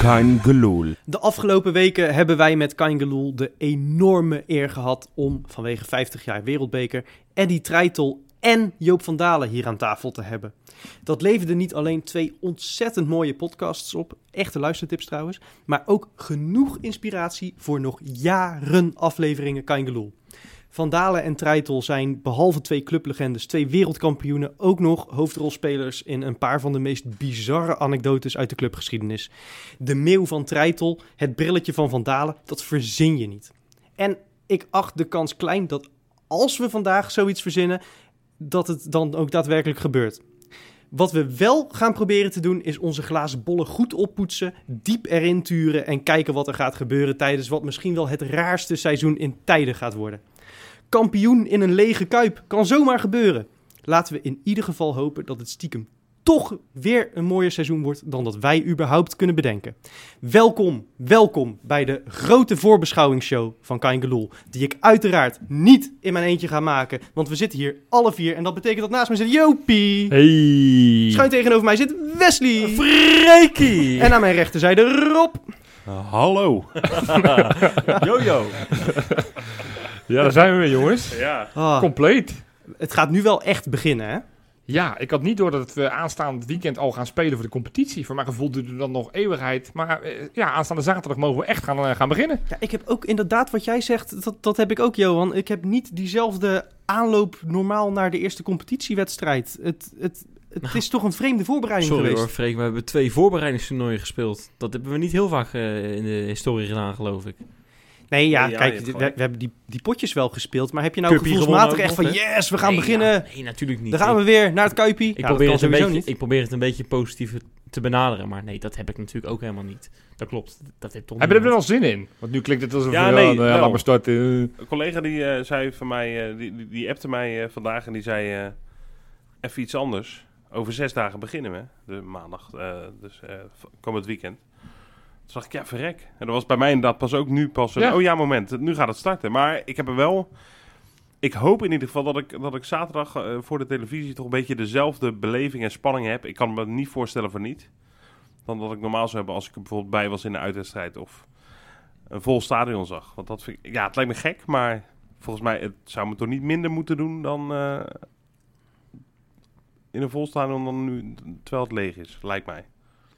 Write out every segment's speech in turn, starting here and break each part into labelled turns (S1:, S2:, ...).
S1: Kain Geloel.
S2: De afgelopen weken hebben wij met Kain Geloel de enorme eer gehad om vanwege 50 jaar wereldbeker Eddy Treitel en Joop van Dalen hier aan tafel te hebben. Dat leverde niet alleen twee ontzettend mooie podcasts op, echte luistertips trouwens, maar ook genoeg inspiratie voor nog jaren afleveringen Kain Geloel. Van Dalen en Treitel zijn behalve twee clublegendes, twee wereldkampioenen, ook nog hoofdrolspelers in een paar van de meest bizarre anekdotes uit de clubgeschiedenis. De meeuw van Treitel, het brilletje van Van Dalen, dat verzin je niet. En ik acht de kans klein dat als we vandaag zoiets verzinnen, dat het dan ook daadwerkelijk gebeurt. Wat we wel gaan proberen te doen is onze glazen bollen goed oppoetsen, diep erin turen en kijken wat er gaat gebeuren tijdens wat misschien wel het raarste seizoen in tijden gaat worden. Kampioen in een lege kuip kan zomaar gebeuren. Laten we in ieder geval hopen dat het stiekem toch weer een mooier seizoen wordt dan dat wij überhaupt kunnen bedenken. Welkom, welkom bij de grote voorbeschouwingsshow van Kain Geloel. Die ik uiteraard niet in mijn eentje ga maken, want we zitten hier alle vier en dat betekent dat naast me zit Jopie.
S1: Hey.
S2: Schuin tegenover mij zit Wesley.
S1: Freekie.
S2: en aan mijn rechterzijde Rob.
S1: Hallo.
S3: Jojo.
S4: Ja, daar zijn we weer, jongens.
S3: Ja.
S2: Ah,
S4: Compleet.
S2: het gaat nu wel echt beginnen, hè?
S4: Ja, ik had niet door dat we aanstaand weekend al gaan spelen voor de competitie. Voor mijn gevoel duurde dan nog eeuwigheid. Maar eh, ja, aanstaande zaterdag mogen we echt gaan, eh, gaan beginnen.
S2: Ja, ik heb ook inderdaad wat jij zegt, dat, dat heb ik ook, Johan. Ik heb niet diezelfde aanloop normaal naar de eerste competitiewedstrijd. Het, het, het is toch een vreemde voorbereiding
S3: Nou. Sorry
S2: geweest.
S3: hoor, Freek, maar we hebben twee voorbereidingstoernooien gespeeld. Dat hebben we niet heel vaak eh, in de historie gedaan, geloof ik.
S2: Nee, ja,
S3: Nee, ja, je
S2: kijk,
S3: hebt
S2: we,
S3: gelijk.
S2: we hebben die, die potjes wel gespeeld. Maar heb je nou
S3: Kuipie
S2: gevoelsmatig echt
S3: gewonnen
S2: van,
S3: ook nog,
S2: yes, we gaan
S3: Nee,
S2: beginnen.
S3: ja, nee, natuurlijk niet.
S2: Dan gaan we
S3: Ik-
S2: weer naar het Kuipie.
S3: Ik, probeer het een beetje,
S2: niet.
S3: ik probeer het een beetje positief te benaderen, maar nee, dat heb ik natuurlijk ook helemaal niet. Dat klopt, dat heeft toch
S4: Hebben we er
S3: niemand.
S4: wel zin in? Want nu klinkt het alsof
S5: Ja,
S4: we
S5: nee,
S4: nou ja,
S5: wel.
S4: laat maar starten. Eh,
S5: Een collega die eh, zei van mij, eh, die, die, die appte mij eh, vandaag en die zei eh, even iets anders. Over zes dagen beginnen we, de maandag, eh, dus eh, v- komend weekend. Toen dacht ik, ja, verrek. En dat was bij mij inderdaad pas ook nu pas een,
S4: Ja.
S5: oh ja, moment, nu gaat het starten. Maar ik heb er wel, ik hoop in ieder geval dat ik, dat ik zaterdag eh, voor de televisie toch een beetje dezelfde beleving en spanning heb. Ik kan me niet voorstellen van niet. Dan dat ik normaal zou hebben als ik er bijvoorbeeld bij was in de uitwedstrijd of een vol stadion zag. Want dat vind ik, ja, het lijkt me gek, maar volgens mij het zou me toch niet minder moeten doen dan eh, in een vol stadion dan nu, terwijl het leeg is, lijkt mij.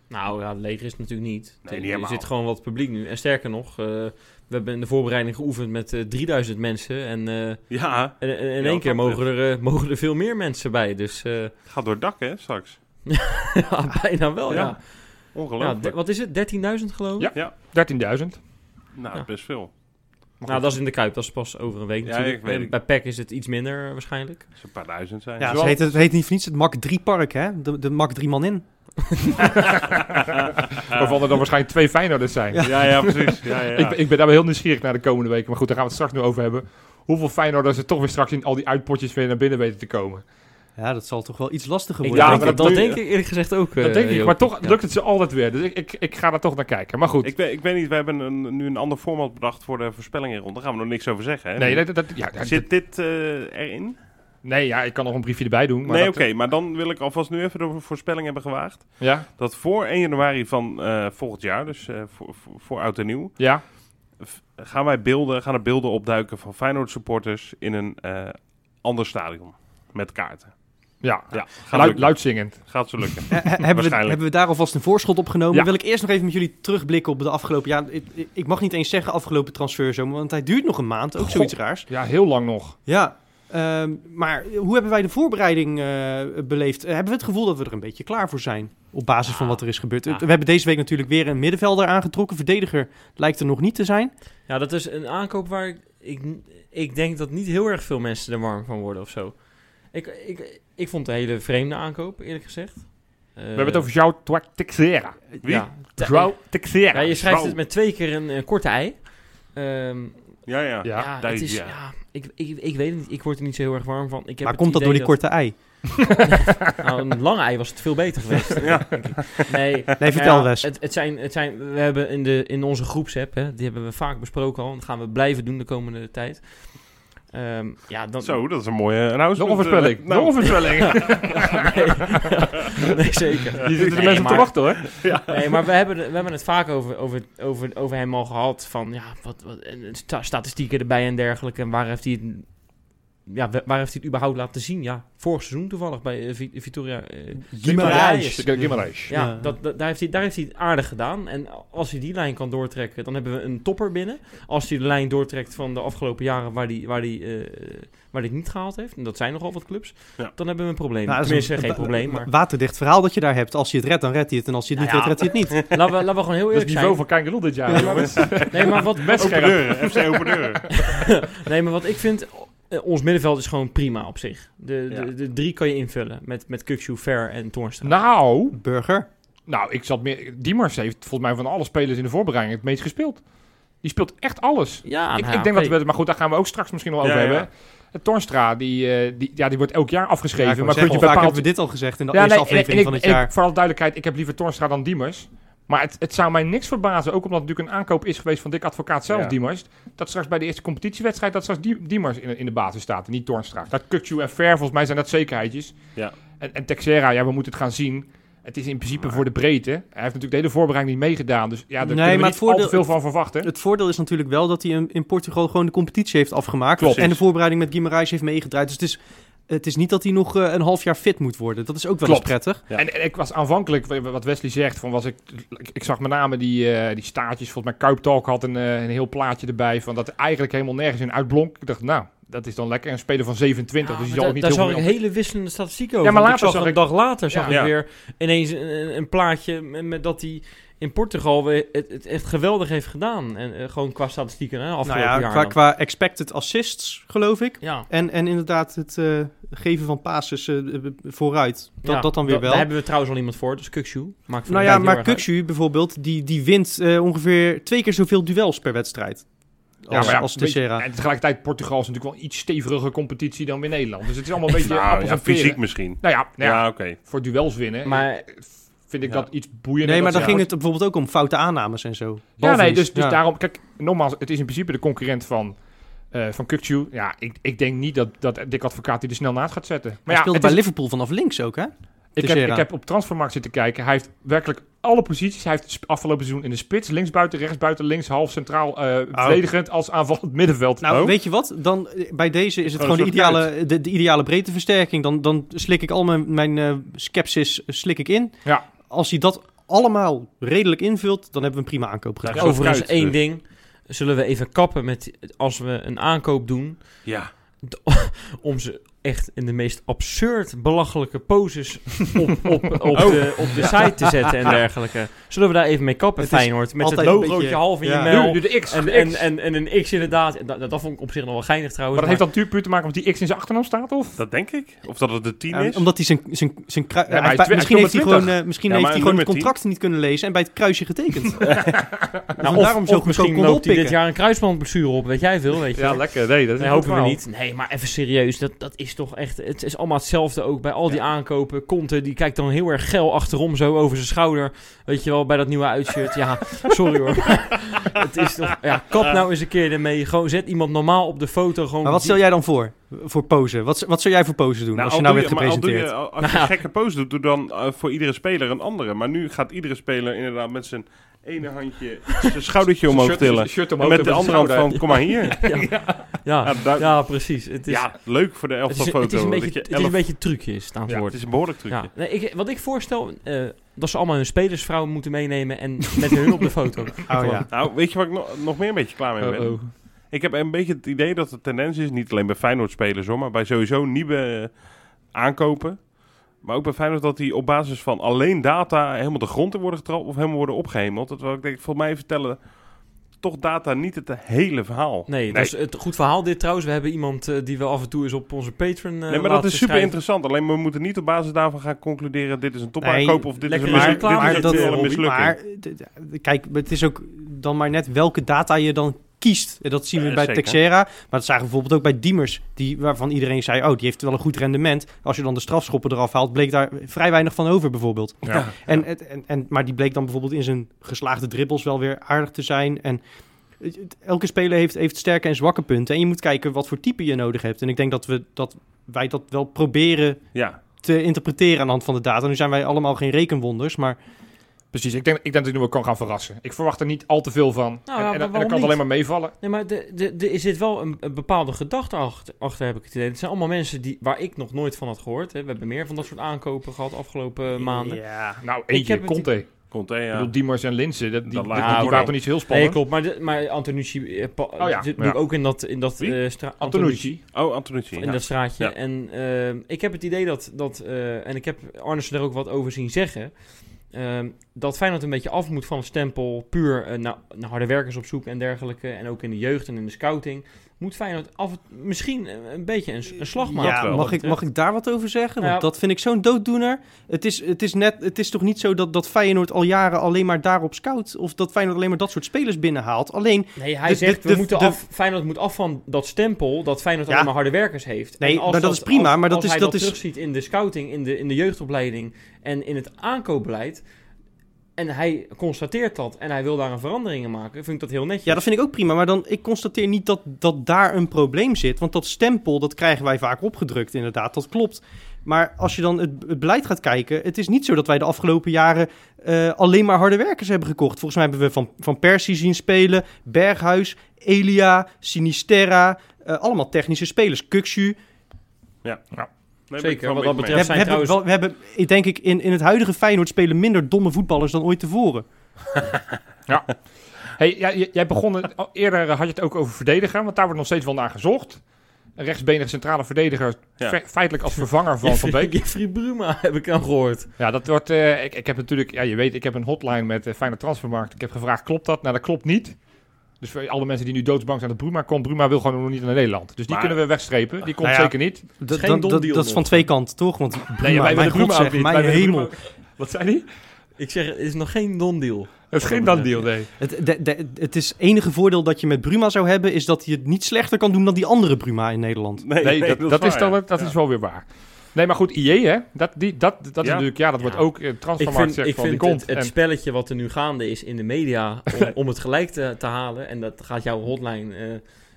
S3: Nou ja, leger is het natuurlijk niet.
S5: niet
S3: Er- er
S5: helemaal.
S3: zit gewoon wat publiek nu. En sterker nog, eh, we hebben in de voorbereiding geoefend met eh, 3000 mensen. En eh,
S5: Ja,
S3: in, in- in
S5: Ja,
S3: één
S5: wat
S3: keer
S5: dat
S3: mogen er, eh, mogen er veel meer mensen bij. Dus eh,
S5: gaat door het dak hè, straks.
S3: ja, bijna wel, ja.
S5: Ja.
S3: Ja,
S5: Ongelooflijk.
S3: d- wat is het? 13.000 geloof ik?
S4: Ja. 13.000.
S5: nou,
S3: ja.
S5: best veel.
S3: Nou, dat is in de Kuip. Dat is pas over een week
S5: Ja,
S3: natuurlijk.
S5: ik weet
S3: En
S5: het.
S3: Bij PEC is het iets minder eh, waarschijnlijk.
S5: Dat is een paar duizend zijn.
S2: Ja,
S4: Wel-
S2: het heet, het heet niet voor niets het Mak 3 Park, hè? De, de Mak 3 man in.
S4: Waarvan er dan waarschijnlijk twee Feyenoorders zijn.
S5: ja, ja, precies. Ja, ja, ja.
S4: Ik, ben- ik ben daar wel heel nieuwsgierig naar de komende weken. Maar goed, daar gaan we het straks nu over hebben. Hoeveel Feyenoorders er toch weer straks in al die uitpotjes weer naar binnen weten te komen.
S2: Ja, dat zal toch wel iets lastiger
S3: Ik
S2: worden.
S4: Ja,
S3: denk-
S4: maar
S3: dat,
S4: dat doe je-
S3: denk ik eerlijk gezegd ook. eh,
S4: Dat denk ik,
S3: Joop.
S4: maar toch
S3: Ja.
S4: lukt het ze altijd weer. Dus ik, ik, ik ga daar toch naar kijken. Maar goed.
S5: Ik weet, ik weet niet, we hebben een, nu een ander format bedacht voor de voorspellingen rond. Daar gaan we nog niks over zeggen. Hè?
S4: nee, dat, dat, ja, dat-
S5: Zit dit eh, erin?
S4: nee, ja, ik kan nog een briefje erbij doen. Maar
S5: nee,
S4: dat-
S5: oké. maar dan wil ik alvast nu even de voorspelling hebben gewaagd.
S4: Ja,
S5: Dat voor 1 januari van eh, volgend jaar, dus eh, voor, voor, voor oud en nieuw,
S4: ja.
S5: f- gaan wij beelden, gaan er beelden opduiken van Feyenoord supporters in een eh, ander stadion. Met kaarten.
S4: Ja,
S5: Ja, gaat,
S4: Luid,
S5: lukken.
S4: luidzingend.
S5: gaat ze lukken.
S2: Eh, He- he- hebben, we,
S5: Waarschijnlijk.
S2: hebben we daar alvast een voorschot op genomen?
S4: Ja.
S2: Wil ik eerst nog even met jullie terugblikken op de afgelopen jaar. Ik, ik- ik mag niet eens zeggen afgelopen transferzomer, want hij duurt nog een maand. Ook
S4: Goh.
S2: zoiets raars.
S4: Ja, heel lang nog.
S2: Ja, ehm, maar hoe hebben wij de voorbereiding eh, beleefd? Eh, hebben we het gevoel dat we er een beetje klaar voor zijn? Op basis van wat er is gebeurd.
S3: Ja.
S2: We hebben deze week natuurlijk weer een middenvelder aangetrokken. Verdediger lijkt er nog niet te zijn.
S3: Ja, dat is een aankoop waar ik, ik, ik denk dat niet heel erg veel mensen er warm van worden of zo. Ik, ik, ik vond het een hele vreemde aankoop, eerlijk gezegd.
S4: We hebben het over João Tuac Teixeira.
S5: Wie?
S3: Eh, Ja, Te-
S4: João Teixeira.
S3: ja, je schrijft
S5: João.
S3: het met twee keer een, eh, korte ei. Ehm,
S5: Ja, ja.
S4: Ja.
S3: ja, het is,
S5: ja.
S3: ja. ik, ik, ik weet het niet. Ik word er niet zo heel erg warm van. Ik heb
S2: maar
S3: het
S2: komt dat
S3: idee
S2: door die korte ei?
S3: Nou, een lange ei was het veel beter geweest. denk ik. Nee,
S2: Nee, vertel
S3: Nou ja,
S2: Wes.
S3: Het, het zijn, het zijn, we hebben in, de, in onze groepsapp, hè, die hebben we vaak besproken al, en dat gaan we blijven doen de komende tijd. Ehm, ja, dan,
S5: Zo, dat is een mooie announcement.
S4: Nog een voorspelling.
S5: Eh, nou,
S4: Nog een voorspelling.
S3: nee, nee, zeker.
S4: Die zitten de
S3: Nee,
S4: mensen
S3: maar-
S4: te wachten hoor.
S3: Nee, maar we hebben, we hebben het vaak over, over, over, over hem al gehad. Van ja, wat, wat, en sta- statistieken erbij en dergelijke. En waar heeft hij het, ja, wa- waar heeft hij het überhaupt laten zien? Ja, vorig seizoen toevallig bij eh, Vi- Vitoria. eh, Guimarães.
S4: Guimarães.
S3: ja,
S2: Ja.
S3: Dat, dat- daar, heeft hij, daar heeft hij het aardig gedaan. En als hij die lijn kan doortrekken, dan hebben we een topper binnen. Als hij de lijn doortrekt van de afgelopen jaren waar hij, waar hij, eh, waar hij het niet gehaald heeft. En dat zijn nogal wat clubs.
S5: Ja.
S3: Dan hebben we een probleem.
S2: Nou, dat is
S3: Tenminste,
S2: een-
S3: geen
S2: een-
S3: probleem.
S2: een
S3: Maar
S2: Waterdicht verhaal dat je daar hebt. Als je het redt, dan redt hij het. En als je het niet
S3: Nou ja.
S2: redt, redt hij het niet.
S3: laten we, laten we gewoon heel
S4: Dat is het
S3: eerlijk
S4: niveau
S3: zijn.
S4: van Kangaroo dit jaar, jongens.
S3: Nee, maar wat,
S4: Best
S5: Open
S4: scherp.
S5: deuren, FC open deuren.
S3: Nee, maar wat ik vind, eh, ons middenveld is gewoon prima op zich. De, de,
S5: Ja.
S3: de drie kan je invullen met, met Kukshu, Ver en Toornstra.
S4: Nou,
S2: Burger.
S4: nou, ik zat meer... Diemers heeft volgens mij van alle spelers in de voorbereiding het meest gespeeld. Die speelt echt alles.
S3: ja,
S4: Ik,
S3: nou ja,
S4: ik denk dat
S3: oké.
S4: we... Maar goed, daar gaan we ook straks misschien nog
S5: Ja,
S4: over
S5: ja.
S4: hebben. En Tornstra, die, eh, die, ja, die wordt elk jaar afgeschreven.
S2: Ja, ik wou
S4: maar
S2: zeggen,
S4: kun je
S2: hoe vaak
S4: bepaald...
S2: hebben we dit al gezegd in de
S4: Ja,
S2: eerste
S4: nee, en- en
S2: aflevering
S4: ik-
S2: van het
S4: en ik-
S2: jaar?
S4: voor alle duidelijkheid, ik heb liever Tornstra dan Diemers. Maar het, het zou mij niks verbazen, ook omdat het natuurlijk een aankoop is geweest van Dick Advocaat zelf,
S5: Ja.
S4: Diemers. Dat straks bij de eerste competitiewedstrijd, dat straks Die- Diemers in, in de basis staat en niet Tornstra. Dat Kukju en Ver, volgens mij zijn dat zekerheidjes.
S5: Ja.
S4: En, en Texera, ja, we moeten het gaan zien. Het is in principe voor de breedte. Hij heeft natuurlijk de hele voorbereiding niet meegedaan, dus ja, daar
S2: Nee,
S4: kunnen we
S2: maar
S4: niet
S2: het voordeel-
S4: al te veel van verwachten.
S2: Het voordeel is natuurlijk wel dat hij in, in Portugal gewoon de competitie heeft afgemaakt.
S4: Klopt.
S2: En de voorbereiding met Guimarães heeft meegedraaid. Dus het is, het is niet dat hij nog eh, een half jaar fit moet worden. Dat is ook wel eens
S4: Klopt.
S2: prettig.
S5: Ja.
S4: En, en ik was aanvankelijk, wa- wat Wesley zegt, van was ik, ik, ik zag met name die, eh, die staartjes. Volgens mij Kuiptalk had een, eh, een heel plaatje erbij van dat er eigenlijk helemaal nergens in uitblonk. Ik dacht, nou, dat is dan lekker. Een speler van 27,
S3: Ja,
S4: dus die
S3: maar
S4: zal ook
S3: da-
S4: niet
S3: daar
S4: heel
S3: zag
S4: veel
S3: ik
S4: meer op-
S3: hele wisselende statistieken over.
S4: Ja, maar
S3: Want
S4: later
S3: ik zag
S4: zag
S3: een dag later zag
S4: Ja.
S3: ik
S5: Ja.
S3: weer ineens een, een- een plaatje met, met dat hij in Portugal weer het, het echt geweldig heeft gedaan. En eh, gewoon qua statistieken hè,
S2: Nou
S3: afgelopen
S2: ja,
S3: jaar.
S2: qua,
S3: dan.
S2: qua expected assists, geloof ik.
S3: ja.
S2: En, en inderdaad het eh, geven van passes eh, eh, vooruit. Dat,
S3: Ja,
S2: dat dan weer wel.
S3: Daar hebben we trouwens al iemand voor, dus Kukshu. Maakt voor
S2: Nou ja,
S3: de tijd heel
S2: maar
S3: erg uit.
S2: Kukshu bijvoorbeeld, die, die wint eh, ongeveer twee keer zoveel duels per wedstrijd. Als,
S4: maar
S2: als
S4: weet je,
S2: Teixeira.
S4: En tegelijkertijd, Portugal is natuurlijk wel een iets stevigere competitie dan weer Nederland. Dus het is allemaal een beetje
S5: Nou,
S4: appels
S5: ja,
S4: en peren.
S5: fysiek misschien.
S4: Nou ja, nou ja,
S5: Ja, oké.
S4: voor duels winnen
S3: Maar
S4: vind ik
S5: Ja.
S4: dat iets boeiender.
S2: Nee, maar
S4: dan
S2: dan ging het bijvoorbeeld ook om foute aannames en zo.
S4: Ja, nee,
S2: Balverlies.
S4: dus, dus
S2: Ja.
S4: daarom... Kijk, nogmaals, het is in principe de concurrent van, eh van Kukçu. Ja, ik, ik denk niet dat, dat Dick Advocaat die er snel naast gaat zetten. Maar
S2: Hij
S4: ja,
S2: speelde
S4: het
S2: bij
S4: is-
S2: Liverpool vanaf links ook, hè?
S4: ik, heb,
S2: Teixeira.
S4: ik heb op Transfermarkt zitten kijken. Hij heeft werkelijk alle posities. Hij heeft het sp- afgelopen seizoen in de spits, linksbuiten, rechtsbuiten, links, half, centraal, eh, verdedigend als aanvallend middenveld.
S2: Nou,
S5: Oh.
S2: weet je wat? Dan, eh, bij deze is het
S5: Oh,
S2: gewoon de
S5: dat is wel
S2: ideale, de, de ideale breedteversterking. Dan, dan slik ik al mijn, mijn eh, scepsis eh, slik ik in.
S4: Ja.
S2: Als hij dat allemaal redelijk invult, dan hebben we een prima aankoop gedaan.
S5: Ja, zo
S3: overigens
S5: fruit,
S3: één
S5: dus.
S3: ding. Zullen we even kappen met als we een aankoop doen,
S5: Ja.
S3: om ze echt in de meest absurd belachelijke poses op, op, op,
S2: Oh.
S3: de, op de site te zetten en dergelijke. Zullen we daar even mee kappen,
S2: Het is
S3: Feyenoord? Met het
S2: altijd een
S3: logootje
S2: beetje-
S3: half in
S2: ja.
S3: je
S4: nu,
S3: mail.
S4: nu de X.
S3: En,
S4: de
S3: en,
S4: X.
S3: en, en een X inderdaad. En Dat, dat vond ik op zich nog wel geinig trouwens.
S4: maar dat heeft dan natuurlijk puur te maken omdat die X in zijn achternaam staat, of?
S5: Dat denk ik. Of dat het de 10
S2: Ja,
S5: is.
S2: Eh, omdat hij zijn, zijn, zijn krui-
S4: Ja, maar
S2: hij
S4: hij
S2: heeft-
S4: is twi-
S2: misschien
S4: hij
S2: heeft
S4: is
S2: hij gewoon, eh, misschien
S5: Ja,
S2: heeft
S5: maar
S2: hij gewoon
S5: een
S2: het
S5: nummer
S2: contract niet kunnen lezen en bij het kruisje getekend. daarom
S3: nou,
S2: zo
S3: of, of
S2: goedkoop
S3: misschien
S2: kon
S3: loopt hij dit
S2: oppikken.
S3: jaar een kruisbandblessure op. Weet jij veel, weet je.
S4: Ja, lekker. Nee, dat is
S3: Nee,
S4: een goed
S3: hopen we
S4: verhaal.
S3: niet. Nee, maar even serieus. Dat, dat is toch echt... Het is allemaal hetzelfde ook bij al die aankopen. Conte, die kijkt dan heel erg geil achterom zo over zijn schouder. Weet je wel, bij dat nieuwe uitshirt. Ja, sorry hoor. het is toch... Ja, kap nou eens een keer ermee. Gewoon zet iemand normaal op de foto. Gewoon
S2: Maar wat stel
S3: die-
S2: jij dan voor? Voor pose? Wat, wat zou jij voor pose doen als je
S5: al
S2: nou
S5: doe
S2: werd
S5: maar al doe
S2: gepresenteerd?
S5: je- al- als je een gekke pose doet, doe dan eh, voor iedere speler een andere. Maar nu gaat iedere speler inderdaad met zijn ene handje zijn schoudertje omhoog
S4: Shirt-
S5: tillen.
S4: shirt
S5: En
S4: omhoog
S5: met de andere hand
S4: schouder.
S5: van, kom maar hier.
S3: Ja,
S5: Ja,
S3: ja,
S5: daar-
S3: precies. Het is,
S5: Ja, leuk voor de
S3: het is,
S5: elftalfoto.
S3: het is een beetje,
S5: dat je
S3: het is
S5: elf-
S3: een beetje trucje is het aan het
S5: Ja, het
S3: worden.
S5: is een behoorlijk trucje.
S3: Ja. Nee, ik, wat ik voorstel, eh, dat ze allemaal hun spelersvrouwen moeten meenemen en met hun op de foto.
S2: Oh ja.
S5: Nou, weet je waar ik nog, nog meer een beetje klaar mee ben?
S4: Uh-oh.
S5: Ik heb een beetje het idee dat de tendens is, niet alleen bij Feyenoord-spelers hoor, maar bij sowieso nieuwe eh, aankopen. Maar ook bij Feyenoord dat die op basis van alleen data helemaal de grond in worden getrapt of helemaal worden opgehemeld. Terwijl ik denk, volgens mij vertellen toch data niet het hele verhaal.
S3: Nee, dat is het goed verhaal dit trouwens. We hebben iemand eh, die wel af en toe is op onze Patreon eh,
S5: nee, maar dat
S3: laten
S5: is super
S3: schrijven.
S5: interessant. Alleen we moeten niet op basis daarvan gaan concluderen, dit is een topaankoop
S2: Nee,
S5: of dit is
S3: lekker
S5: een,
S3: maar-
S5: misluk- dit is
S3: maar
S5: echt
S3: dat-
S5: wel een mislukking.
S2: Maar eh, kijk, het is ook dan maar net welke data je dan kiest. En Dat zien we
S5: Ja,
S2: bij
S5: zeker.
S2: Texera. Maar dat zagen we bijvoorbeeld ook bij Diemers. Die, waarvan iedereen zei, oh, die heeft wel een goed rendement. Als je dan de strafschoppen eraf haalt, bleek daar vrij weinig van over bijvoorbeeld.
S4: Ja.
S2: En, het- en, en, maar die bleek dan bijvoorbeeld in zijn geslaagde dribbels wel weer aardig te zijn. En het- het- elke speler heeft, heeft sterke en zwakke punten. En je moet kijken wat voor type je nodig hebt. En ik denk dat, we, dat wij dat wel proberen
S5: Ja,
S2: te interpreteren aan de hand van de data. Nu zijn wij allemaal geen rekenwonders, maar
S4: Precies, ik denk, ik denk dat hij nu wel kan gaan verrassen. Ik verwacht er niet al te veel van.
S3: Nou,
S4: en, en,
S3: ja, maar
S4: en dan
S3: waarom
S4: kan het
S3: niet?
S4: alleen maar meevallen.
S3: Nee, maar de, de, de, er zit wel een, een bepaalde gedachte achter, achter, heb ik het idee. Het zijn allemaal mensen die, waar ik nog nooit van had gehoord. Hè. We hebben meer van dat soort aankopen gehad afgelopen maanden.
S2: Ja.
S4: Nou,
S3: Ik heb
S4: eentje,
S3: het-
S4: Conte. Ik
S5: Conte, eh, ja.
S4: bedoel, Diemers en Linsen, dat, die,
S5: Dat
S4: dat,
S5: laatste
S4: die
S3: wordt
S4: waren
S3: ook-
S4: toch niet zo heel
S3: Nee,
S4: spannend?
S3: klopt. Maar, de, maar Antonucci eh, pa-
S4: ja,
S3: zit
S4: ja.
S3: natuurlijk ook in dat, in dat,
S5: Oh Wie?
S3: eh, stra-
S4: Antonucci.
S5: Oh, Antonucci.
S3: in
S5: Ja.
S3: dat straatje.
S5: Ja.
S3: En ehm, ik heb het idee dat, dat eh, en ik heb Arnesen er ook wat over zien zeggen, ehm, dat Feyenoord een beetje af moet van het stempel puur eh, naar, naar harde werkers op zoek en dergelijke. En ook in de jeugd en in de scouting. Moet Feyenoord af, misschien eh, een, een beetje een, s- een slag maken.
S2: Ja,
S5: wel.
S2: mag ik, mag ik daar wat over zeggen? Want
S3: Ja.
S2: dat vind ik zo'n dooddoener. Het is, het, is net, het is toch niet zo dat, dat Feyenoord al jaren alleen maar daarop scout... of dat Feyenoord alleen maar dat soort spelers binnenhaalt. Alleen,
S3: Nee, hij
S2: De- de-
S3: zegt, we
S2: de-
S3: moeten
S2: de-
S3: af, Feyenoord moet af van dat stempel dat Feyenoord
S2: Ja.
S3: alleen maar harde werkers heeft.
S2: Nee,
S3: En als
S2: maar dat is prima,
S3: als-
S2: maar dat
S3: als
S2: is-
S3: hij
S2: dat
S3: dat,
S2: is-
S3: terugziet in de scouting, in de, in de jeugdopleiding en in het aankoopbeleid... En hij constateert dat en hij wil daar een verandering in maken. Vind ik dat heel netjes.
S2: ja, dat vind ik ook prima. Maar dan, ik constateer niet dat, dat daar een probleem zit. Want dat stempel, dat krijgen wij vaak opgedrukt, inderdaad. Dat klopt. Maar als je dan het, het beleid gaat kijken... het is niet zo dat wij de afgelopen jaren eh, alleen maar harde werkers hebben gekocht. Volgens mij hebben we Van, van Persie zien spelen, Berghuis, Elia, Sinisterra... eh, allemaal technische spelers. Kuxu,
S5: Nee,
S3: Zeker,
S5: ben ik
S3: wat
S5: wel
S3: dat
S5: mee
S3: betreft.
S5: eens.
S2: we,
S3: zijn
S2: hebben,
S3: trouwens-
S2: wel- we hebben, ik denk ik, in, in het huidige Feyenoord spelen minder domme voetballers dan ooit tevoren.
S4: Hey, ja, j- jij begon, het- al eerder eh, had je het ook over verdedigen, want daar wordt nog steeds wel naar gezocht. Een rechtsbenige centrale verdediger,
S5: Ja.
S4: fe- feitelijk als vervanger van Van Beek.
S3: Jeffrey Bruma heb ik aan gehoord.
S4: Ja, dat wordt. eh, ik, ik heb natuurlijk, ja, je weet, ik heb een hotline met eh Fijne Transfermarkt. Ik heb gevraagd, klopt dat? Nou, dat klopt niet. Dus voor alle mensen die nu doodsbang zijn dat Bruma komt, Bruma wil gewoon nog niet naar Nederland. Dus die
S5: Maar-
S4: kunnen we wegstrepen. Die komt
S2: Nou ja.
S4: zeker niet.
S2: Dat,
S3: geen
S2: dat-
S3: dom
S2: dat-
S3: deal
S2: dat is van
S3: nog.
S2: twee kanten, toch? Want
S4: Nee,
S2: Bruma,
S4: wij
S2: mijn
S4: willen Bruma
S2: god
S4: ook
S2: zeg,
S4: niet.
S2: mijn
S4: Wij willen
S2: hemel.
S4: Wat zei die?
S3: Ik zeg, het is nog geen non-deal.
S4: Het is geen dan deal, nee.
S2: Het, de- de- het is enige voordeel dat je met Bruma zou hebben... is dat hij het niet slechter kan doen dan die andere Bruma in Nederland.
S5: Nee,
S4: Nee, dat, dat, is,
S5: waar,
S4: dan,
S5: ja.
S4: dat
S5: Ja.
S4: is wel weer waar. Nee, maar goed, IE, hè? Dat, die, dat, dat is
S5: Ja.
S4: natuurlijk, ja, dat wordt ook eh,
S3: Ik
S4: Transfermarkt
S3: vind,
S4: zegt
S3: ik
S4: van die
S3: vind
S4: komt.
S3: het, het
S4: En-
S3: spelletje wat er nu gaande is in de media om, om het gelijk te, te halen. En dat gaat jouw hotline, eh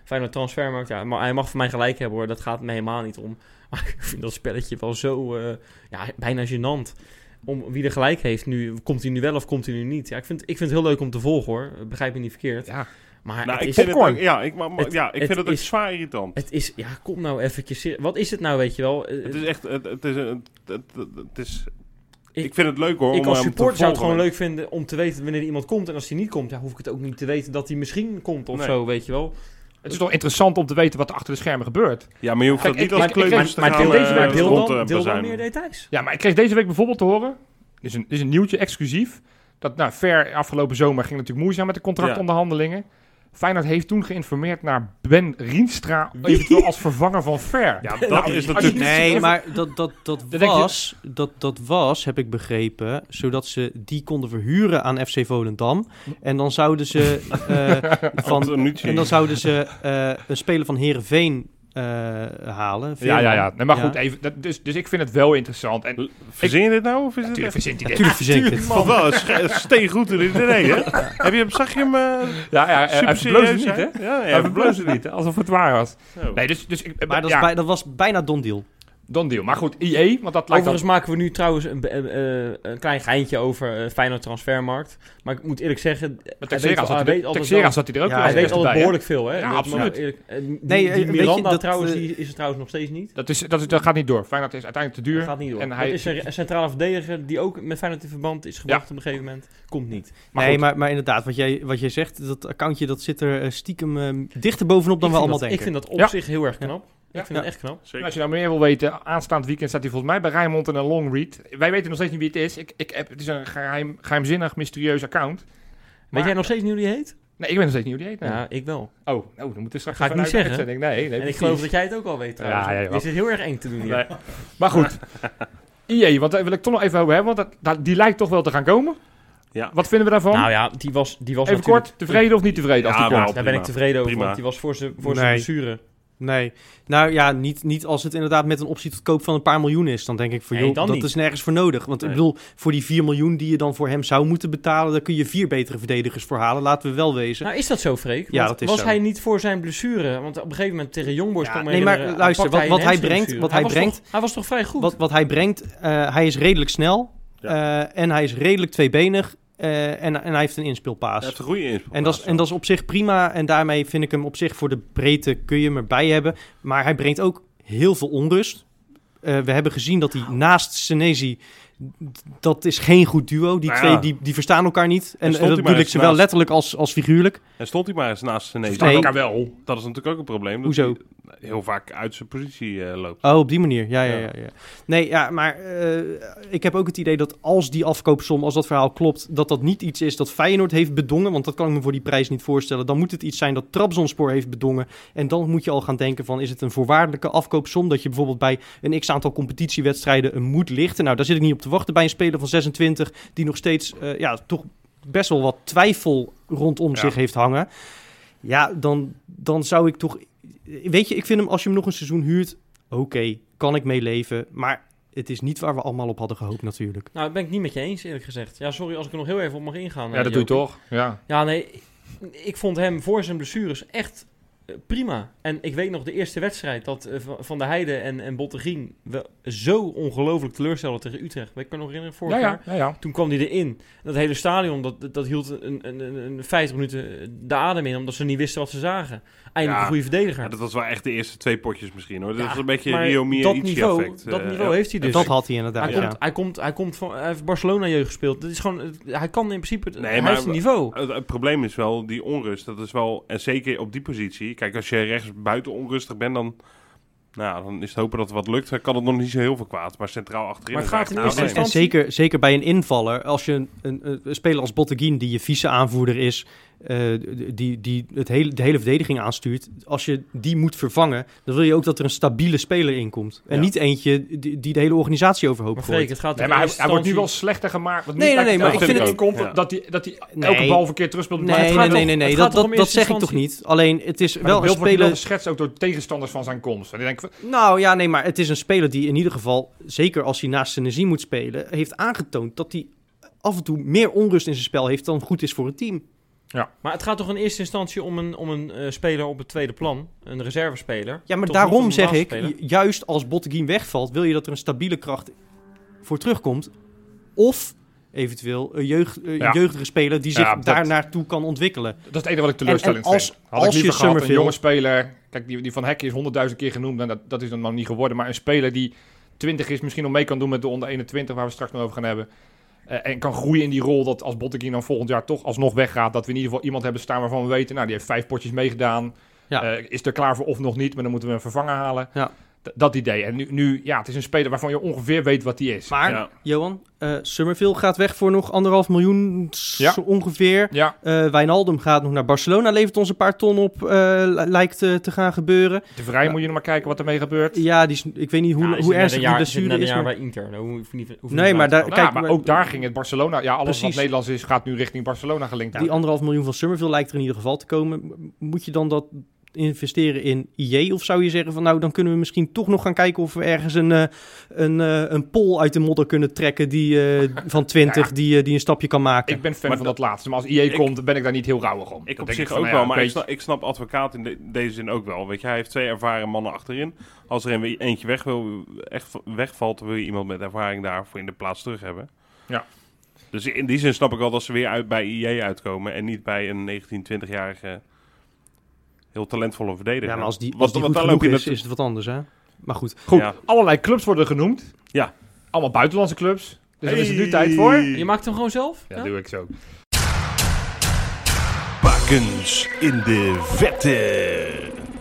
S3: Feyenoord Transfermarkt. Ja, maar hij mag voor mij gelijk hebben hoor, dat gaat me helemaal niet om. Maar ik vind dat spelletje wel zo eh, ja, bijna gênant. Om wie er gelijk heeft nu, komt hij nu wel of komt hij nu niet? Ja, ik vind, ik vind het heel leuk om te volgen hoor, begrijp me niet verkeerd.
S4: ja.
S3: Maar
S5: Nou,
S3: het,
S5: ik
S3: is,
S5: vind het
S4: popcorn.
S5: ook- ja, ik, maar, maar-
S3: Het-
S5: ja, ik
S3: het
S5: vind het ook
S3: is-
S5: zwaar irritant.
S3: het is, ja, kom nou eventjes, ser- wat is het nou weet je wel? Eh,
S5: Het is echt, het, het is, een- het, het- het is, ik,
S3: Ik-
S5: vind het leuk hoor.
S3: ik
S5: om
S3: als
S5: hem te
S3: supporter zou het
S5: volgen.
S3: gewoon leuk vinden om te weten wanneer iemand komt. En als hij niet komt, ja, hoef ik het ook niet te weten dat hij misschien komt of
S5: Nee.
S3: zo, weet je wel.
S4: Het is toch interessant om te weten wat er achter de schermen gebeurt.
S5: Ja, maar je hoeft
S4: Kijk,
S5: dat niet
S4: ik-
S5: als
S4: maar-
S5: kleuters te
S4: maar- maar
S5: gaan
S4: deel deze- maar
S5: eh,
S4: deel
S5: rond,
S3: deel
S5: eh,
S3: dan, deel dan
S5: bazuinen.
S3: meer details.
S4: Ja, maar ik kreeg deze week bijvoorbeeld te horen. Dit is een, dit is een nieuwtje, exclusief. Dat nou, Ver afgelopen zomer ging natuurlijk moeizaam met de contractonderhandelingen. Feyenoord heeft toen geïnformeerd naar Ben Rienstra, eventueel als vervanger van Ver.
S5: Ja,
S4: Nou,
S5: dat is
S4: als je
S5: natuurlijk...
S4: niet-
S2: Nee, maar dat, dat, dat,
S4: denk je-
S2: was, dat, dat was, heb ik begrepen, zodat ze die konden verhuren aan FC Volendam. En dan zouden ze eh, van,
S5: Antonucci.
S2: En dan zouden ze eh, een speler van Herenveen halen.
S4: Ja, ja, ja. Nee, maar
S2: Ja.
S4: goed, even, dat, dus, dus ik vind het wel interessant. En
S5: Verzin je dit nou? Of is
S4: natuurlijk
S5: het
S4: verzint hij dit.
S2: Natuurlijk verzin ik het.
S5: echt... wel, het is- het is steengoed in de hè? Heb je hem, zag je hem eh
S4: Ja, ja, eh, hij
S5: super
S4: verbloosde
S5: serieus
S4: niet, hè?
S5: zijn? Ja, ja,
S4: Hij verbloosde niet, hè? alsof het waar was.
S5: Zo.
S4: Nee, dus, dus ik,
S2: Maar dat, is
S4: ja,
S2: bij- dat was bijna Don Deal.
S4: dan deal. Maar goed, IE, want dat lijkt dan...
S3: Overigens maken we nu trouwens een, be- eh, eh, een klein geintje over eh, Feyenoord transfermarkt. Maar ik moet eerlijk zeggen,
S4: Met
S3: hij weet,
S4: Texera
S3: al-
S4: zat,
S3: hij
S4: hij
S3: weet
S4: er-
S3: altijd
S4: Texera
S3: wel-
S4: zat hij er ook
S2: Ja,
S4: wel
S3: hij
S4: eens
S3: weet altijd
S4: bij, hè?
S3: behoorlijk veel, hè?
S4: Ja,
S3: Dat-
S4: absoluut.
S3: maar eerlijk, eh, die,
S2: Nee,
S3: die
S2: eh, weet je,
S3: Miranda
S2: dat,
S3: trouwens,
S2: eh,
S3: die is er trouwens nog steeds niet.
S4: Dat, is, dat, is, dat gaat niet door. Feyenoord is uiteindelijk te duur.
S3: Dat gaat niet door.
S4: En
S3: Dat
S4: hij-
S3: is een re- een centrale verdediger die ook met Feyenoord in verband is gebracht op een gegeven moment. Komt niet.
S4: Maar
S2: nee,
S4: goed.
S2: maar, maar inderdaad, wat jij, wat jij zegt, dat accountje dat zit er eh, stiekem eh, dichter bovenop dan
S3: ik
S2: we
S3: vind
S2: allemaal
S3: dat,
S2: denken.
S3: Ik vind dat op
S4: Ja.
S3: zich heel erg knap.
S4: Ja.
S3: Ik vind het echt knap.
S4: En
S5: Zeker.
S4: Als je nou meer wil weten, aanstaand weekend staat hij volgens mij bij Rijmond en een long read. Wij weten nog steeds niet wie het is. Ik, ik heb, het is een geheim, geheimzinnig, mysterieus account.
S3: Weet jij nog steeds niet hoe die heet?
S4: Nee, ik weet nog steeds niet hoe die heet. nee.
S3: Ja, ik wel.
S4: Oh, oh, dan moeten we straks
S3: Ga ik
S4: even
S3: niet
S4: uit de
S3: zeggen.
S4: uitzending. Nee, nee,
S3: En ik
S4: precies.
S3: geloof dat jij het ook al weet trouwens.
S4: Ja, ja, ja.
S3: Is het heel erg eng te doen hier.
S4: Nee. Maar goed. IE, want daar eh, wil ik toch nog even over hebben, want dat, dat- die lijkt toch wel te gaan komen.
S5: Ja.
S4: Wat vinden we daarvan?
S3: Nou ja, die was, die was
S4: even
S3: natuurlijk-
S4: kort, tevreden of niet tevreden als
S5: Ja,
S4: die komt?
S5: wel.
S3: Daar ben
S5: Prima.
S3: ik tevreden over,
S5: Prima.
S3: want die was voor zijn voor zijn
S2: Nee.
S3: blessure.
S2: Nee. Nou ja, niet, niet als het inderdaad met een optie tot koop van een paar miljoen is. Dan denk ik van,
S3: Nee,
S2: joh,
S3: dan
S2: dat
S3: niet.
S2: is nergens voor nodig. Want ik
S5: Nee.
S2: bedoel, voor die 4 miljoen die je dan voor hem zou moeten betalen... daar kun je vier betere verdedigers voor halen, laten we wel wezen.
S3: Nou, is dat zo, Freek?
S2: Ja,
S3: Want
S2: dat is
S3: was
S2: zo.
S3: hij niet voor zijn blessure? Want op een gegeven moment tegen Jongboys
S2: Ja,
S3: kwam
S2: nee, maar luister, wat- wat hij brengt- wat hij brengt-
S3: hij was toch vrij goed?
S2: Wat, wat hij brengt, eh, hij is redelijk snel eh, en hij is redelijk tweebenig eh, en, en hij heeft een
S5: Hij
S2: inspeelpaas.
S5: heeft een goede inspraak.
S2: en, dat is, en dat is op zich prima en daarmee vind ik hem op zich voor de breedte kun je hem erbij hebben. Maar hij brengt ook heel veel onrust. Eh, we hebben gezien dat hij naast Senesi, d- dat is geen goed duo. Die
S5: Nou ja.
S2: twee die, die verstaan elkaar niet. En,
S5: stond
S2: eh,
S5: hij
S2: dat
S5: maar
S2: bedoel ik
S5: eens
S2: zowel
S5: naast.
S2: letterlijk als, als figuurlijk.
S5: En stond hij maar eens naast zijn neus.
S2: Verstaan Nee.
S4: elkaar wel.
S5: Dat is natuurlijk ook een probleem. dat
S2: Hoezo?
S5: hij Heel vaak uit zijn positie eh, loopt.
S2: Oh, op die manier. Ja, ja, ja.
S5: Ja.
S2: ja. Nee, ja, maar eh, ik heb ook het idee dat als die afkoopsom, als dat verhaal klopt, dat dat niet iets is dat Feyenoord heeft bedongen. Want dat kan ik me voor die prijs niet voorstellen. Dan moet het iets zijn dat Trabzonspor heeft bedongen. En dan moet je al gaan denken van, is het een voorwaardelijke afkoopsom? Dat je bijvoorbeeld bij een x-aantal competitiewedstrijden een moet lichten. Nou, daar zit ik niet op te wachten bij een speler van 26 die nog steeds, eh, ja, toch best wel wat twijfel rondom
S5: Ja.
S2: zich heeft hangen. Ja, dan, dan zou ik toch... Weet je, ik vind hem, als je hem nog een seizoen huurt, oké, kan ik mee leven. Maar het is niet waar we allemaal op hadden gehoopt natuurlijk.
S3: Nou, dat ben ik niet met je eens, eerlijk gezegd. Ja, sorry als ik er nog heel even op mag ingaan.
S4: Ja,
S3: eh,
S4: dat doe je
S3: Jopie.
S4: toch? Ja.
S3: Ja, nee, ik- ik vond hem voor zijn blessures echt eh, prima. En ik weet nog de eerste wedstrijd dat eh, Van- Van der Heijden en, en Bottegien we zo ongelooflijk teleurstelden tegen Utrecht. Weet ik me nog herinneren, vorig
S4: Ja,
S3: jaar?
S4: ja, ja, ja.
S3: Toen kwam hij erin. En Dat hele stadion, dat, dat- dat hield een, een, een- een 50 minuten eh, de adem in, omdat ze niet wisten wat ze zagen. Eindelijk
S5: Ja.
S3: een goede verdediger.
S5: Ja, dat was wel echt de eerste twee potjes misschien hoor. Dat
S3: Ja,
S5: was een beetje
S3: maar
S5: Rio
S3: dat
S5: Miaichi
S3: niveau,
S5: effect.
S3: Dat
S5: eh,
S3: niveau
S5: ja.
S3: heeft hij dus.
S2: dat had hij inderdaad,
S3: hij,
S2: ja.
S3: komt, hij, komt, hij, komt van, hij heeft Barcelona jeugd gespeeld. Dat is gewoon, hij kan in principe,
S5: Nee,
S3: hij
S5: maar-
S3: heeft een niveau.
S5: Het, het probleem is wel die onrust. Dat is wel, en zeker op die positie. Kijk, als je rechts buiten onrustig bent, dan, nou, ja, dan is het hopen dat het wat lukt. Dan kan het nog niet zo heel veel kwaad. Maar centraal achterin.
S3: Maar het
S5: is
S3: gaat in
S5: echt-
S3: eerste
S5: nou,
S2: En, en
S3: instantie-
S2: zeker, zeker bij een invaller, als je een, een, een speler als Botteguin, die je vice-aanvoerder is, eh, die, die het hele, de hele verdediging aanstuurt, als je die moet vervangen, dan wil je ook dat er een stabiele speler in komt. En
S5: Ja.
S2: niet eentje die, die de hele organisatie overhoop
S3: Maar Freek,
S2: gooit.
S3: het gaat
S4: Nee,
S3: in
S4: maar hij,
S3: eerste
S4: hij wordt nu wel
S3: instantie-
S4: slechter gemaakt. Want nu
S2: Nee, nee,
S4: lijkt
S2: nee,
S4: het
S2: maar
S4: wel
S5: ik
S4: dat
S5: vind
S4: het
S5: het-
S4: komt
S5: ja.
S4: dat hij, dat hij
S2: Nee.
S4: elke bal verkeerd terug speelt.
S2: Nee,
S4: Maar het
S2: nee,
S4: gaat
S2: nee,
S4: om-
S2: nee, nee,
S3: het gaat
S2: dat,
S3: toch om
S2: dat, dat
S3: eerste
S2: zeg ik toch
S3: instantie.
S2: niet. Alleen, het is
S4: Maar
S2: wel een
S4: het beeld
S2: speler...
S4: wordt geschetst ook door tegenstanders van zijn komst. En ik denk, van,
S2: Nou ja, nee, maar het is een speler die in ieder geval, zeker als hij naast Senesi moet spelen, heeft aangetoond dat hij af en toe meer onrust in zijn spel heeft dan goed is voor het team.
S3: Maar het gaat toch in eerste instantie om een, om een eh, speler op het tweede plan. Een reservespeler.
S2: Ja, maar
S3: Toch niet om
S2: daarom
S3: een
S2: zeg ik,
S3: basisspeler?
S2: ju- juist als Botteguin wegvalt, wil je dat er een stabiele kracht voor terugkomt. Of eventueel een, jeugd, eh, een
S4: Ja.
S2: jeugdige speler die zich
S4: Ja, dat-
S2: daar naartoe kan ontwikkelen.
S4: dat is het enige wat ik teleurstellend
S2: En- en als-
S4: vind. Had
S2: als
S4: ik liever
S2: je
S4: gehad
S2: Summerville-
S4: een jonge speler... Kijk, die, die Van Hek is honderdduizend keer genoemd. En dat, dat is dan nog niet geworden. Maar een speler die 20 is, misschien nog mee kan doen met de onder 21... waar we straks nog over gaan hebben. Eh, en kan groeien in die rol dat als Botteguin dan volgend jaar toch alsnog weggaat... dat we in ieder geval iemand hebben staan waarvan we weten... nou, die heeft vijf potjes meegedaan.
S2: Ja.
S4: Eh, is er klaar voor of nog niet, maar dan moeten we een vervanger halen.
S2: Ja.
S4: D- dat idee. En nu, nu, ja, het is een speler waarvan je ongeveer weet wat die is.
S2: Maar,
S5: Ja.
S2: Johan, eh Summerville gaat weg voor nog anderhalf miljoen s-
S4: Ja.
S2: ongeveer.
S4: Ja,
S2: Eh Wijnaldum gaat nog naar Barcelona, levert ons een paar ton op, eh, li- lijkt eh, te gaan gebeuren.
S4: de Vrij moet je nog maar kijken wat ermee gebeurt.
S2: Ja, die is, ik weet niet hoe,
S3: Ja, hij zit
S2: hoe
S3: net
S2: ernstig
S3: een
S2: die
S3: jaar, zit
S2: blessure
S3: net een
S2: is.
S3: jaar
S2: maar-
S3: bij Inter. Daar hoef je niet, hoef je
S2: Nee,
S3: niet
S2: maar
S3: bij
S2: daar-
S3: te komen.
S2: kijk,
S4: ja, Nou, maar
S2: maar-
S4: ook daar ging het Barcelona. Ja, alles wat
S2: Precies.
S4: Nederlands is, gaat nu richting Barcelona gelinkt.
S2: Die anderhalf miljoen van Summerville lijkt er in ieder geval te komen. M- Moet je dan dat investeren in IJ? Of zou je zeggen van nou, dan kunnen we misschien toch nog gaan kijken of we ergens een, eh, een, eh, een pol uit de modder kunnen trekken die, eh, van 20 die, eh, die een stapje kan maken.
S4: Ik ben fan
S5: Maar
S4: van
S5: dat-
S4: dat laatste. Maar als IE
S5: Ik-
S4: komt, ben ik daar niet heel rauwig om.
S5: Ik
S4: Dan
S5: op
S4: denk
S5: zich
S4: van,
S5: ook
S4: nou ja,
S5: wel, maar ik
S4: weet
S5: snap, ik snap advocaat in de- deze zin ook wel. Weet je, hij heeft twee ervaren mannen achterin. Als er een, eentje weg wil, echt wegvalt, wil je iemand met ervaring daarvoor in de plaats terug hebben.
S4: Ja.
S5: Dus in die zin snap ik wel dat ze weer uit bij IJ uitkomen en niet bij een 19, 20-jarige heel talentvolle verdediger.
S2: ja, maar als die,
S5: Want-
S2: als die
S5: want
S2: goed
S5: daar loop
S2: genoeg is,
S5: je natu-
S2: is het wat anders hè. Maar goed,
S4: je. Goed,
S5: Ja.
S4: allerlei clubs worden genoemd.
S5: Ja.
S4: Allemaal buitenlandse clubs. Dus er is er nu tijd
S5: Hey.
S4: voor.
S3: Je maakt hem gewoon zelf?
S4: Ja, doe ik zo.
S5: Bakens in de vette.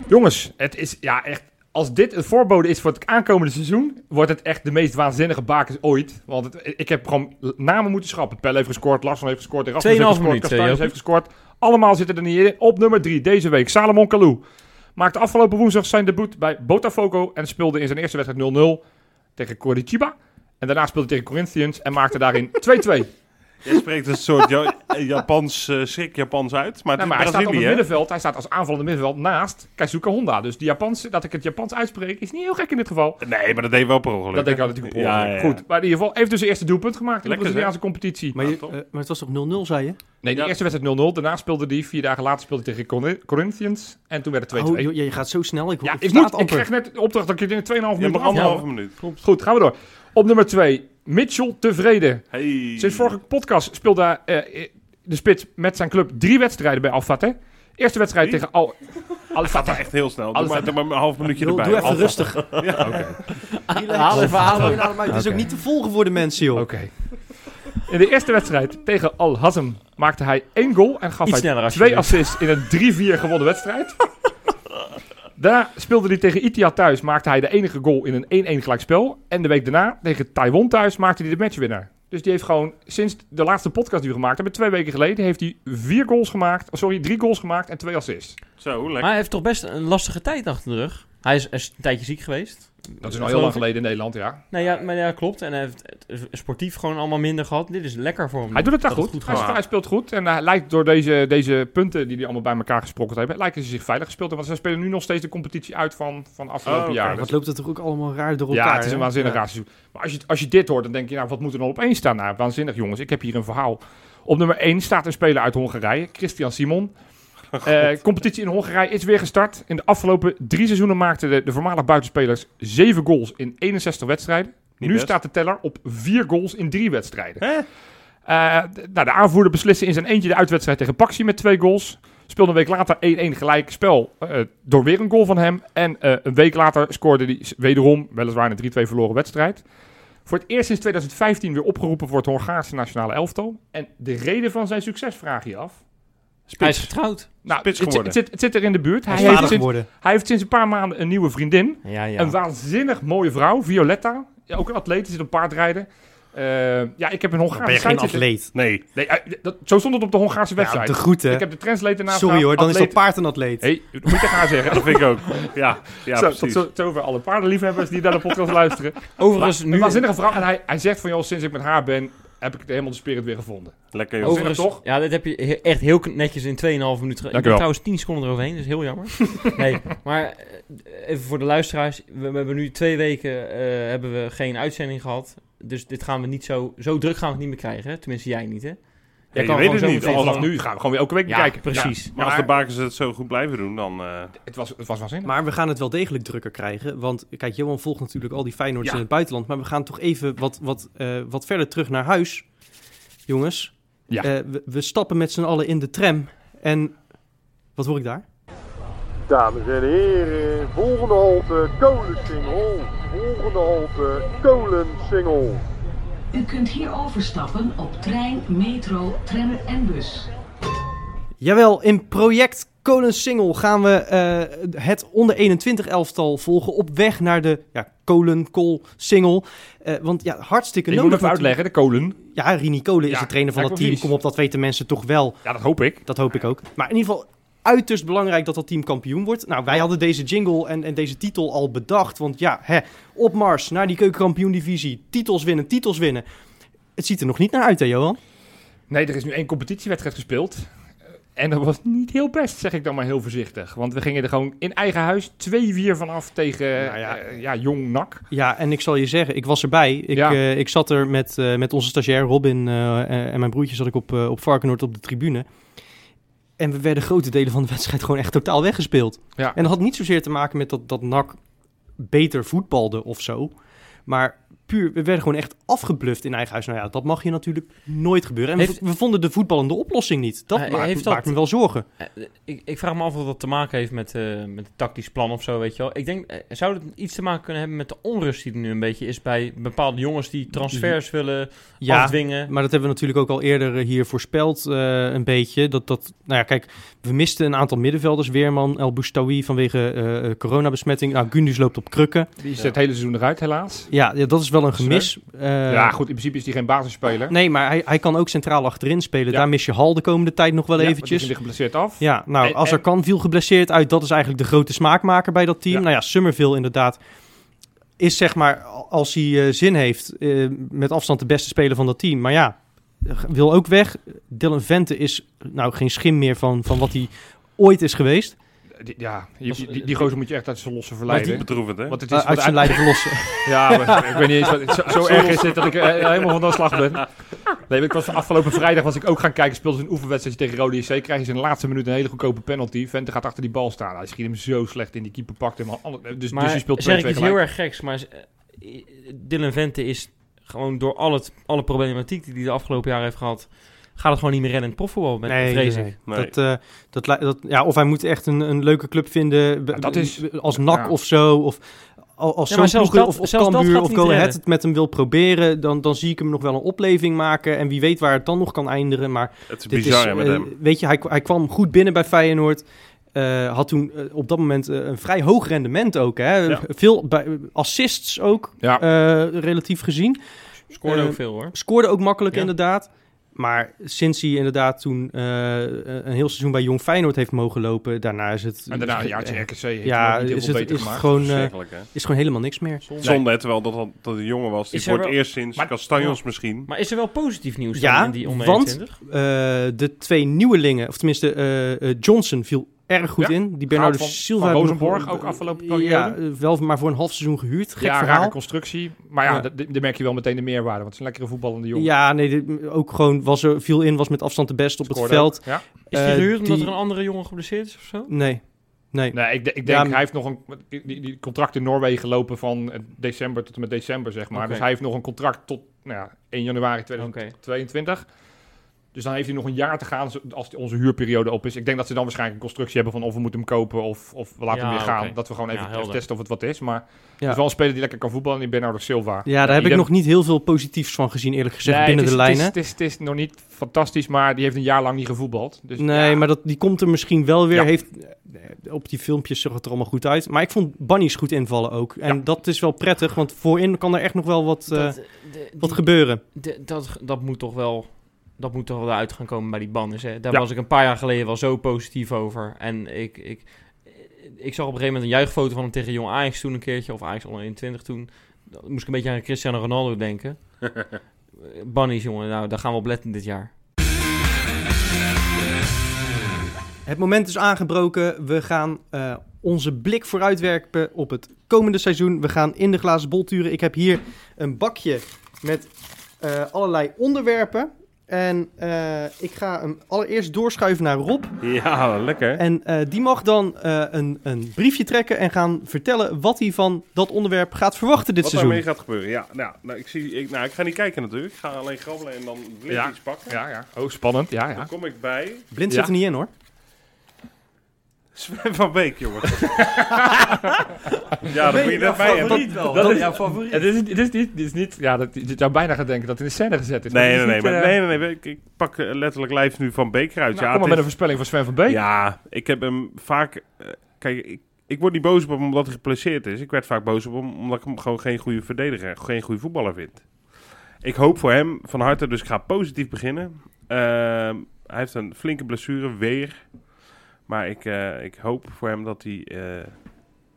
S4: Jongens, het is ja echt. Als dit een voorbode is voor het aankomende seizoen, wordt het echt de meest waanzinnige bakens ooit. Want het- ik heb gewoon namen moeten schrappen. Pelle heeft gescoord, Larsson heeft gescoord, Erasmus heeft
S3: 2,5
S4: gescoord,
S3: minuten,
S4: Castanjes
S3: Joop.
S4: heeft gescoord. Allemaal zitten er niet in. Op nummer 3 deze week, Salomon Kalou. Maakte afgelopen woensdag zijn debuut bij Botafogo en speelde in zijn eerste wedstrijd 0-0 tegen Coritiba. En daarna speelde hij tegen Corinthians en maakte daarin 2-2.
S5: Jij spreekt een soort Ja- Japans, eh, schrik Japans uit. Maar het
S4: Nou,
S5: is
S4: maar hij staat op
S5: Brazilië,
S4: het
S5: hè?
S4: middenveld. Hij staat als aanvallende middenveld naast Kazuka Honda. Dus die Japanse, dat ik het Japans uitspreek is niet heel gek in dit geval.
S5: Nee, maar dat deed je wel per ongeluk.
S4: Dat denk ik
S5: hè?
S4: altijd natuurlijk
S5: Ja,
S4: ja,
S5: ja, ja.
S4: Goed, maar in ieder geval heeft dus zijn eerste doelpunt gemaakt in de
S5: Lekker,
S4: Braziliaanse competitie.
S2: Maar,
S5: Ja,
S2: je-
S5: toch?
S2: eh, maar het was toch 0-0, zei je?
S4: Nee, de
S5: Ja.
S4: eerste wedstrijd 0-0. Daarna speelde hij, vier dagen later speelde hij tegen Corinthians. Corinthians. En toen werd het 2-2.
S2: Oh, joh, je gaat zo snel. Ik,
S4: ja,
S2: ja,
S4: ik, moet, ik kreeg net de opdracht dat ik het in 2,5
S5: Je
S4: minuten
S5: hebt nog
S4: af.
S5: anderhalve minuut.
S4: Goed, gaan we door. Op nummer 2, Mitchell Tevreden.
S5: Hey.
S4: Sinds vorige podcast speelde eh, de spits met zijn club drie wedstrijden bij Al Fateh. Eerste wedstrijd
S5: Drie?
S4: tegen Al, Al
S5: gaat
S4: Fateh.
S5: echt heel snel. Doe
S4: Alles
S5: maar, doe maar een half minuutje
S2: Doe,
S5: erbij.
S2: doe even
S5: Alfa.
S2: rustig.
S5: Ja,
S2: Haal even, haal even. adem uit. Het is ook
S4: Oké.
S2: niet te volgen voor de mensen, joh.
S4: Oké. In de eerste wedstrijd tegen Al Hazm maakte hij één goal en gaf
S3: Iets
S4: hij
S3: sneller als je
S4: twee
S3: denkt.
S4: assists in een 3-4 gewonnen wedstrijd. Daarna speelde hij tegen Etihad thuis, maakte hij de enige goal in een 1-1 gelijkspel. En de week daarna tegen Taiwan thuis maakte hij de matchwinnaar. Dus die heeft gewoon sinds de laatste podcast die we gemaakt hebben, twee weken geleden, heeft hij vier goals gemaakt, oh, sorry, drie goals gemaakt en twee assists.
S5: Zo,
S3: Maar
S5: lekker.
S3: hij heeft toch best een lastige tijd achter de rug. Hij is, is een tijdje ziek geweest.
S4: Dat is al
S3: Geloof
S4: heel lang
S3: ik.
S4: geleden in Nederland, ja.
S3: Nee, ja, maar ja, klopt. En hij heeft het- het- sportief gewoon allemaal minder gehad. Dit is lekker voor hem.
S4: Hij doet het daar
S3: Dat
S4: goed.
S3: het
S4: hij,
S3: gaat.
S4: hij speelt goed. En hij lijkt door deze, deze punten die hij allemaal bij elkaar gesprokkeld hebben, lijken ze zich veilig gespeeld. te hebben. Want ze spelen nu nog steeds de competitie uit van, van afgelopen
S5: Oh, oké.
S4: jaar.
S2: Wat loopt het toch ook allemaal raar door elkaar?
S4: ja, het is een
S2: hè?
S4: waanzinnig
S2: Ja.
S4: raar seizoen. Maar als je, als je dit hoort, dan denk je, nou, wat moet er dan op één staan? Nou, waanzinnig jongens. Ik heb hier een verhaal. Op nummer 1 staat een speler uit Hongarije, Christian Simon.
S5: Oh,
S4: Eh, competitie in Hongarije is weer gestart. In de afgelopen drie seizoenen maakten de, de voormalig buitenspelers zeven goals in 61 wedstrijden.
S5: Niet
S4: nu
S5: best.
S4: staat de teller op vier goals in drie wedstrijden.
S5: Hè?
S4: Eh, d- nou, de aanvoerder besliste in zijn eentje de uitwedstrijd tegen Paxi met twee goals. Speelde een week later 1-1 gelijk spel eh, door weer een goal van hem. En eh, een week later scoorde hij s- wederom, weliswaar in een 3-2 verloren wedstrijd. Voor het eerst sinds 2015 weer opgeroepen voor het Hongaarse nationale elftal. En de reden van zijn succes vraag je af.
S3: Hij is getrouwd.
S4: Nou,
S5: Spits
S4: het, zit-
S5: geworden.
S4: het, zit, het zit er in de buurt. Hij,
S2: Hij is
S4: heeft
S2: vader
S4: sinds,
S2: geworden.
S4: hij heeft sinds een paar maanden een nieuwe vriendin.
S3: Ja, ja.
S4: Een waanzinnig mooie vrouw, Violetta. Ja, ook een atleet, zit op paardrijden. Eh, ja, ik heb een Hongaarse
S2: Ben je geen
S4: site zitten-
S2: atleet?
S5: Nee.
S4: Nee, eh, dat, zo stond het op de Hongaarse
S2: Ja,
S4: website.
S2: te goed, hè?
S4: Ik heb de translator naast
S2: Sorry
S4: haar,
S2: hoor, dan is dat
S4: atleet-
S2: paard een atleet.
S4: Hé, dat moet ik tegen haar zeggen.
S5: Dat vind ik ook. Ja, ja
S4: zo, tot
S5: precies.
S4: zo- zover alle paardenliefhebbers die naar de podcast luisteren.
S3: Overigens,
S4: Een
S3: nu,
S4: waanzinnige vrouw. En hij, hij zegt van, joh, sinds ik met haar ben, heb ik het helemaal de spirit weer gevonden.
S5: Lekker, joh.
S3: overigens
S4: toch?
S3: Ja, dit heb je he- echt heel kn- netjes in 2,5 minuten gedaan. Ik
S4: Dank u wel.
S3: ben trouwens 10 seconden eroverheen, dus heel jammer. nee, maar eh, even voor de luisteraars. We, we hebben nu twee weken eh, hebben we geen uitzending gehad. Dus dit gaan we niet zo... Zo druk gaan we het niet meer krijgen. hè? Tenminste, jij niet, hè? Jij
S5: je
S3: kan
S5: weet het niet,
S3: gewoon zo meteen
S5: alles
S4: Vanaf
S3: gewoon-
S4: nu gaan we gewoon weer elke week
S3: Ja,
S4: kijken.
S3: precies.
S5: Maar als de bakers het zo goed blijven doen, dan... eh,
S4: Het was, het was waanzinnig.
S2: Maar we gaan het wel degelijk drukker krijgen. Want kijk, Johan volgt natuurlijk al die Feyenoords
S4: Ja.
S2: in het buitenland. Maar we gaan toch even wat, wat, eh, wat verder terug naar huis. Jongens,
S4: Ja.
S2: Eh, we, we stappen met z'n allen in de tram. En wat hoor ik daar?
S6: Dames en heren, volgende halte Kolensingel. Volgende halte Kolensingel.
S7: U kunt hier overstappen op trein, metro, tram en bus.
S2: Jawel, in project Kolensingel gaan we eh, het onder 21 elftal volgen op weg naar de ja, Kolen, Kol, Singel. Eh, want ja, hartstikke
S4: Ik
S2: nodig.
S4: moet even
S2: natuurlijk.
S4: uitleggen, de kolen.
S2: Ja, Rini Kolen is
S4: Ja,
S2: de trainer van
S4: ja,
S2: dat team.
S4: precies.
S2: Kom op, dat weten mensen toch wel.
S4: Ja, dat hoop ik.
S2: Dat hoop ik ook. Maar in ieder geval uiterst belangrijk dat dat team kampioen wordt. Nou, wij hadden deze jingle en, en deze titel al bedacht. Want ja, hè, op Mars naar die keukenkampioen-divisie. Titels winnen, titels winnen. Het ziet er nog niet naar uit, hè, Johan?
S4: Nee, er is nu één competitiewedstrijd gespeeld. Eh, En dat was niet heel best, zeg ik dan maar heel voorzichtig. Want we gingen er gewoon in eigen huis 2-4 vanaf tegen
S2: Nou ja.
S4: eh, ja, Jong Nak.
S2: Ja, en ik zal je zeggen, ik was erbij. Ik,
S4: Ja.
S2: eh, ik zat er met, eh, met onze stagiair Robin eh, eh, en mijn broertje zat ik op, eh, op Varkenoord op de tribune. En we werden grote delen van de wedstrijd gewoon echt totaal weggespeeld.
S4: Ja.
S2: En dat had niet zozeer te maken met dat, dat NAC beter voetbalde of zo. Maar puur, we werden gewoon echt afgebluft in eigen huis. Nou ja, dat mag je natuurlijk nooit gebeuren. En we
S3: Heeft-
S2: v- we vonden de voetballende oplossing niet. Dat
S3: Eh,
S2: maakt,
S3: heeft dat-
S2: maakt me wel zorgen.
S3: Eh, Ik, ik vraag me af of dat te maken heeft met, eh, met het tactisch plan of zo, weet je wel. Ik denk, eh, zou het iets te maken kunnen hebben met de onrust die er nu een beetje is bij bepaalde jongens die transfers willen
S2: Ja,
S3: afdwingen?
S2: Maar dat hebben we natuurlijk ook al eerder eh, hier voorspeld, eh, een beetje. Dat, dat, nou ja, kijk, we misten een aantal middenvelders. Weerman, El Boustawi vanwege eh, eh, coronabesmetting. Nou, Gundus loopt op krukken.
S4: Die is het hele seizoen eruit, helaas.
S2: Ja, ja, dat is wel een gemis. Eh,
S4: ja, goed, in principe is die geen basisspeler.
S2: Nee, maar hij, hij kan ook centraal achterin spelen.
S4: Ja.
S2: Daar mis je Hal de komende tijd nog wel
S4: Ja, want Die
S2: eventjes.
S4: ging er geblesseerd af.
S2: Ja, nou,
S4: En-
S2: als er
S4: en-
S2: kan, viel geblesseerd uit. Dat is eigenlijk de grote smaakmaker bij dat team.
S4: Ja.
S2: Nou ja, Summerville inderdaad is zeg maar, als hij eh, zin heeft, eh, met afstand de beste speler van dat team. Maar ja, wil ook weg. Dylan Vente is nou geen schim meer van, van wat hij ooit is geweest.
S4: Die- Ja,
S3: Was-
S4: die, die, die gozer moet je echt uit zijn losse
S5: Echt
S4: verleiden.
S5: bedroevend, hè?
S4: Want het is
S2: Eh,
S4: wat
S2: uit zijn
S4: uit-
S2: lijden verlossen.
S4: Ja, maar ik weet niet eens wat, zo, zo erg is dit dat ik eh, helemaal van de slag ben. Nee, maar ik was afgelopen vrijdag was ik ook gaan kijken. Speelde ze een oefenwedstrijd tegen Rode IC. Krijgen ze in de laatste minuut een hele goedkope penalty. Vente gaat achter die bal staan. Hij schiet hem zo slecht in. Die keeper pakt hem. al- alle- Dus,
S3: maar
S4: dus je speelt
S3: zeg
S4: twee
S3: ik
S4: twee
S3: iets
S4: gelijk.
S3: heel erg geks, maar eh, Dylan Vente is gewoon door al het, alle problematiek die hij de afgelopen jaren heeft gehad, gaat het gewoon niet meer redden in het profvoetbal, ben, vrees ik.
S5: Nee.
S2: Dat, eh, dat, li- dat, ja, of hij moet echt een, een leuke club vinden. b-
S4: Ja, dat
S2: b-
S4: is-
S2: als NAC
S4: ja.
S2: of zo. Of al- als
S3: Ja, maar
S2: zo'n
S3: zelfs
S2: ploeg,
S3: dat-
S2: of, of
S3: zelfs dat
S2: Cambuur
S3: gaat
S2: of
S3: niet
S2: Go Ahead
S3: redden.
S2: het met hem wil proberen. Dan, dan zie ik hem nog wel een opleving maken. En wie weet waar het dan nog kan eindigen. Maar
S5: Het is
S2: dit
S5: bizar hè,
S2: is,
S5: met
S2: eh,
S5: hem.
S2: weet je, hij, hij kwam goed binnen bij Feyenoord. Eh, had toen eh, op dat moment eh, een vrij hoog rendement ook. Hè?
S5: Ja.
S2: Veel bij, assists ook,
S4: Ja.
S2: eh, relatief gezien.
S3: Scoorde
S2: Eh,
S3: ook veel hoor.
S2: Scoorde ook makkelijk
S3: Ja.
S2: inderdaad. Maar sinds hij inderdaad toen eh, een heel seizoen bij Jong Feyenoord heeft mogen lopen, daarna is het...
S4: En daarna een jaartje RKC. heeft
S2: eh, Ja,
S4: hem ook niet heel
S2: is
S4: veel
S2: het,
S4: beter
S2: is, het
S4: gemaakt.
S2: gewoon, eh,
S5: Verschrikkelijk, hè?
S2: is gewoon helemaal niks meer.
S5: Zonde, hè, terwijl dat, dat, dat een jongen was die
S3: Is er
S5: voor het
S3: wel-
S5: eerst sinds
S4: Maar-
S5: Castanjos misschien...
S3: Maar is er wel positief nieuws
S2: Ja,
S3: dan in die onder
S2: want-
S3: 21?
S2: Eh, de twee nieuwelingen, of tenminste eh, eh, Johnson viel erg goed
S4: Ja,
S2: in. Die Bernardo
S4: van-
S2: Silva...
S4: van
S2: hebben we nog-
S4: Rozenborg ook afgelopen
S2: eh, Ja,
S4: periode.
S2: eh, wel maar voor een half seizoen gehuurd. Gek
S4: ja, rare
S2: verhaal.
S4: constructie. Maar ja,
S2: Ja.
S4: dat- daar merk je wel meteen de meerwaarde. Want het is een lekkere voetballende jongen.
S2: Ja, nee, dit- ook gewoon was er, viel in, was met afstand de beste op het
S4: Scoorde
S2: veld.
S4: ook. Ja.
S3: Is die
S2: Eh,
S3: gehuurd omdat
S2: die-
S3: er een andere jongen geblesseerd is of zo?
S2: Nee, nee.
S4: Nee, ik, de- ik denk,
S2: Ja, maar-
S4: hij heeft nog een die, die contract in Noorwegen lopen van eh, december tot en met december, zeg maar.
S3: Oké.
S4: Dus hij heeft nog een contract tot nou ja, 1 januari 2022. Dus dan heeft hij nog een jaar te gaan zo- als die- onze huurperiode op is. Ik denk dat ze dan waarschijnlijk een constructie hebben van of we moeten hem kopen of, of we laten
S3: Ja,
S4: hem weer gaan.
S3: oké.
S4: Dat we gewoon
S3: Ja,
S4: even,
S3: helder.
S4: testen of het wat is. Maar het
S2: Ja.
S4: is wel een speler die lekker kan voetballen en die Bernardo Silva.
S2: Ja, daar heb ik
S4: ieder-
S2: nog niet heel veel positiefs van gezien, eerlijk gezegd,
S4: Nee,
S2: binnen
S4: het is-
S2: de lijnen.
S4: Het is, het, is, het is nog niet fantastisch, maar die heeft een jaar lang niet gevoetbald. Dus
S2: nee,
S4: ja,
S2: maar dat, die komt er misschien wel weer.
S4: Ja.
S2: Heeft, eh, op die filmpjes zag het er allemaal goed uit. Maar ik vond Bunnies goed invallen ook. En dat is wel prettig, want voorin kan er echt nog wel wat, eh,
S3: Dat, de-
S2: wat
S3: die-
S2: gebeuren.
S3: de- dat, dat moet toch wel... Dat moet toch wel uit gaan komen bij die banners. Hè? Daar
S4: Ja.
S3: was ik een paar jaar geleden wel zo positief over. En ik, ik, ik zag op een gegeven moment een juichfoto van hem tegen Jong Ajax toen een keertje. Of Ajax onder 21 toen. Dan moest ik een beetje aan Cristiano Ronaldo denken. Bunnies, jongen. Nou, daar gaan we op letten dit jaar.
S2: Het moment is aangebroken. We gaan eh, onze blik vooruitwerpen op het komende seizoen. We gaan in de glazen bol turen. Ik heb hier een bakje met eh, allerlei onderwerpen. En eh, ik ga hem allereerst doorschuiven naar Rob.
S5: Ja, lekker.
S2: En eh, die mag dan eh, een, een briefje trekken en gaan vertellen wat hij van dat onderwerp gaat verwachten dit
S5: Wat
S2: seizoen.
S5: daarmee gaat gebeuren, ja. Nou, nou, ik, zie, ik, nou, ik ga niet kijken natuurlijk. Ik ga alleen grabbelen en dan blind
S4: Ja.
S5: iets pakken.
S4: Ja, ja. Oh, spannend. Ja, ja.
S5: Dan kom ik bij
S2: Blind
S4: Ja.
S2: zit er niet in hoor.
S5: Sven van Beek, jongen. ja, dat moet je net bij hebben.
S3: wel.
S4: dat is-
S3: jouw favoriet.
S4: Ja, dit, is, dit, is niet, dit is niet... Ja, dat, je zou bijna gaan denken dat het in de scène gezet is. maar
S5: Nee, nee,
S4: dit is
S5: nee,
S4: niet,
S5: maar,
S4: eh,
S5: nee, nee, nee. Ik, ik pak eh, letterlijk lijf nu van Beek eruit.
S4: nou,
S5: ja,
S4: kom maar
S5: het
S4: met een
S5: is-
S4: voorspelling van Sven van Beek.
S5: ja, ik heb hem vaak... eh, kijk, ik, ik word niet boos op hem omdat hij geplaceerd is. Ik werd vaak boos op hem omdat ik hem gewoon geen goede verdediger, geen goede voetballer vind. Ik hoop voor hem van harte, dus ik ga positief beginnen. Ehm, hij heeft een flinke blessure, weer. Maar ik, eh, ik hoop voor hem dat hij eh,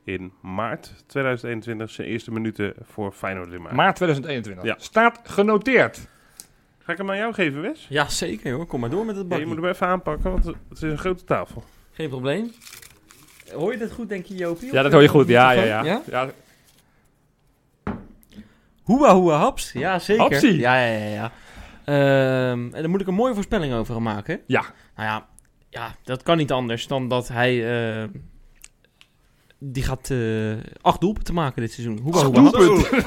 S5: in maart 2021 zijn eerste minuten voor Feyenoord in maakt.
S4: Maart 2021.
S5: Ja.
S4: Staat genoteerd.
S5: Ga ik hem aan jou geven, Wes?
S3: Ja, zeker hoor. Kom maar door met
S5: Ja,
S3: het
S5: je
S3: bakje.
S5: moet hem even aanpakken, want het is een grote tafel.
S3: Geen probleem. Hoor je dat goed, denk je, Jopie?
S4: Ja, dat hoor je goed. Ja, ja,
S3: Of-
S4: ja. ja?
S3: Hoewa, hoewa, haps. Ja, zeker.
S4: Hapsie.
S3: Ja, ja, ja. ja. Ehm, en daar moet ik een mooie voorspelling over gaan maken.
S4: Ja.
S3: Nou ja, ja dat kan niet anders dan dat hij... eh, die gaat eh, acht doelpunten maken dit seizoen. Hoewa, hoewa, haps.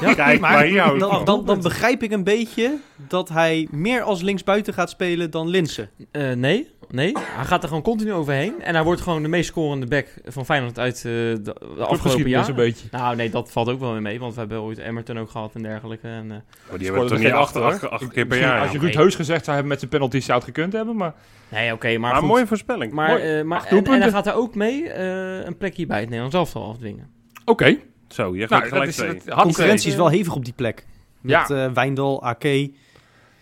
S3: Ja,
S5: Kijk maar jou.
S2: Dan, dan, dan begrijp ik een beetje dat hij meer als linksbuiten gaat spelen dan Linsen.
S3: Eh, nee, nee. Hij gaat er gewoon continu overheen. En hij wordt gewoon de meest scorende back van Feyenoord uit eh, de, de afgelopen
S4: Clubgeschiedenis
S3: jaar.
S4: een beetje.
S3: Nou nee, dat valt ook wel weer mee. Want we hebben ooit Emmerton ook gehad en dergelijke. En, eh,
S5: die
S4: Scoorde
S5: hebben
S4: er
S5: toch
S4: geen
S5: niet acht,
S4: achter, hoor.
S5: acht, acht
S4: Ik-
S5: keer per
S4: misschien
S5: jaar.
S4: Als je
S5: joh.
S3: Nee.
S4: Ruud Heus gezegd zou hebben met zijn penalty zou het gekund hebben, maar...
S3: nee, oké. maar
S5: Maar een
S3: goed.
S5: mooie voorspelling.
S3: Maar,
S4: Mooi.
S3: eh, maar
S4: Acht
S3: en, en hij
S4: doelpunten.
S3: gaat er ook mee eh, een plekje bij het Nederlands elftal afdwingen.
S4: Oké.
S5: Zo, je gaat
S4: Nou, dat
S5: gelijk
S4: is...
S5: twee.
S4: Dat had
S2: Concurrentie
S4: ik-
S2: is wel hevig op die plek.
S4: Ja.
S2: Met eh, Wijndal, Ake.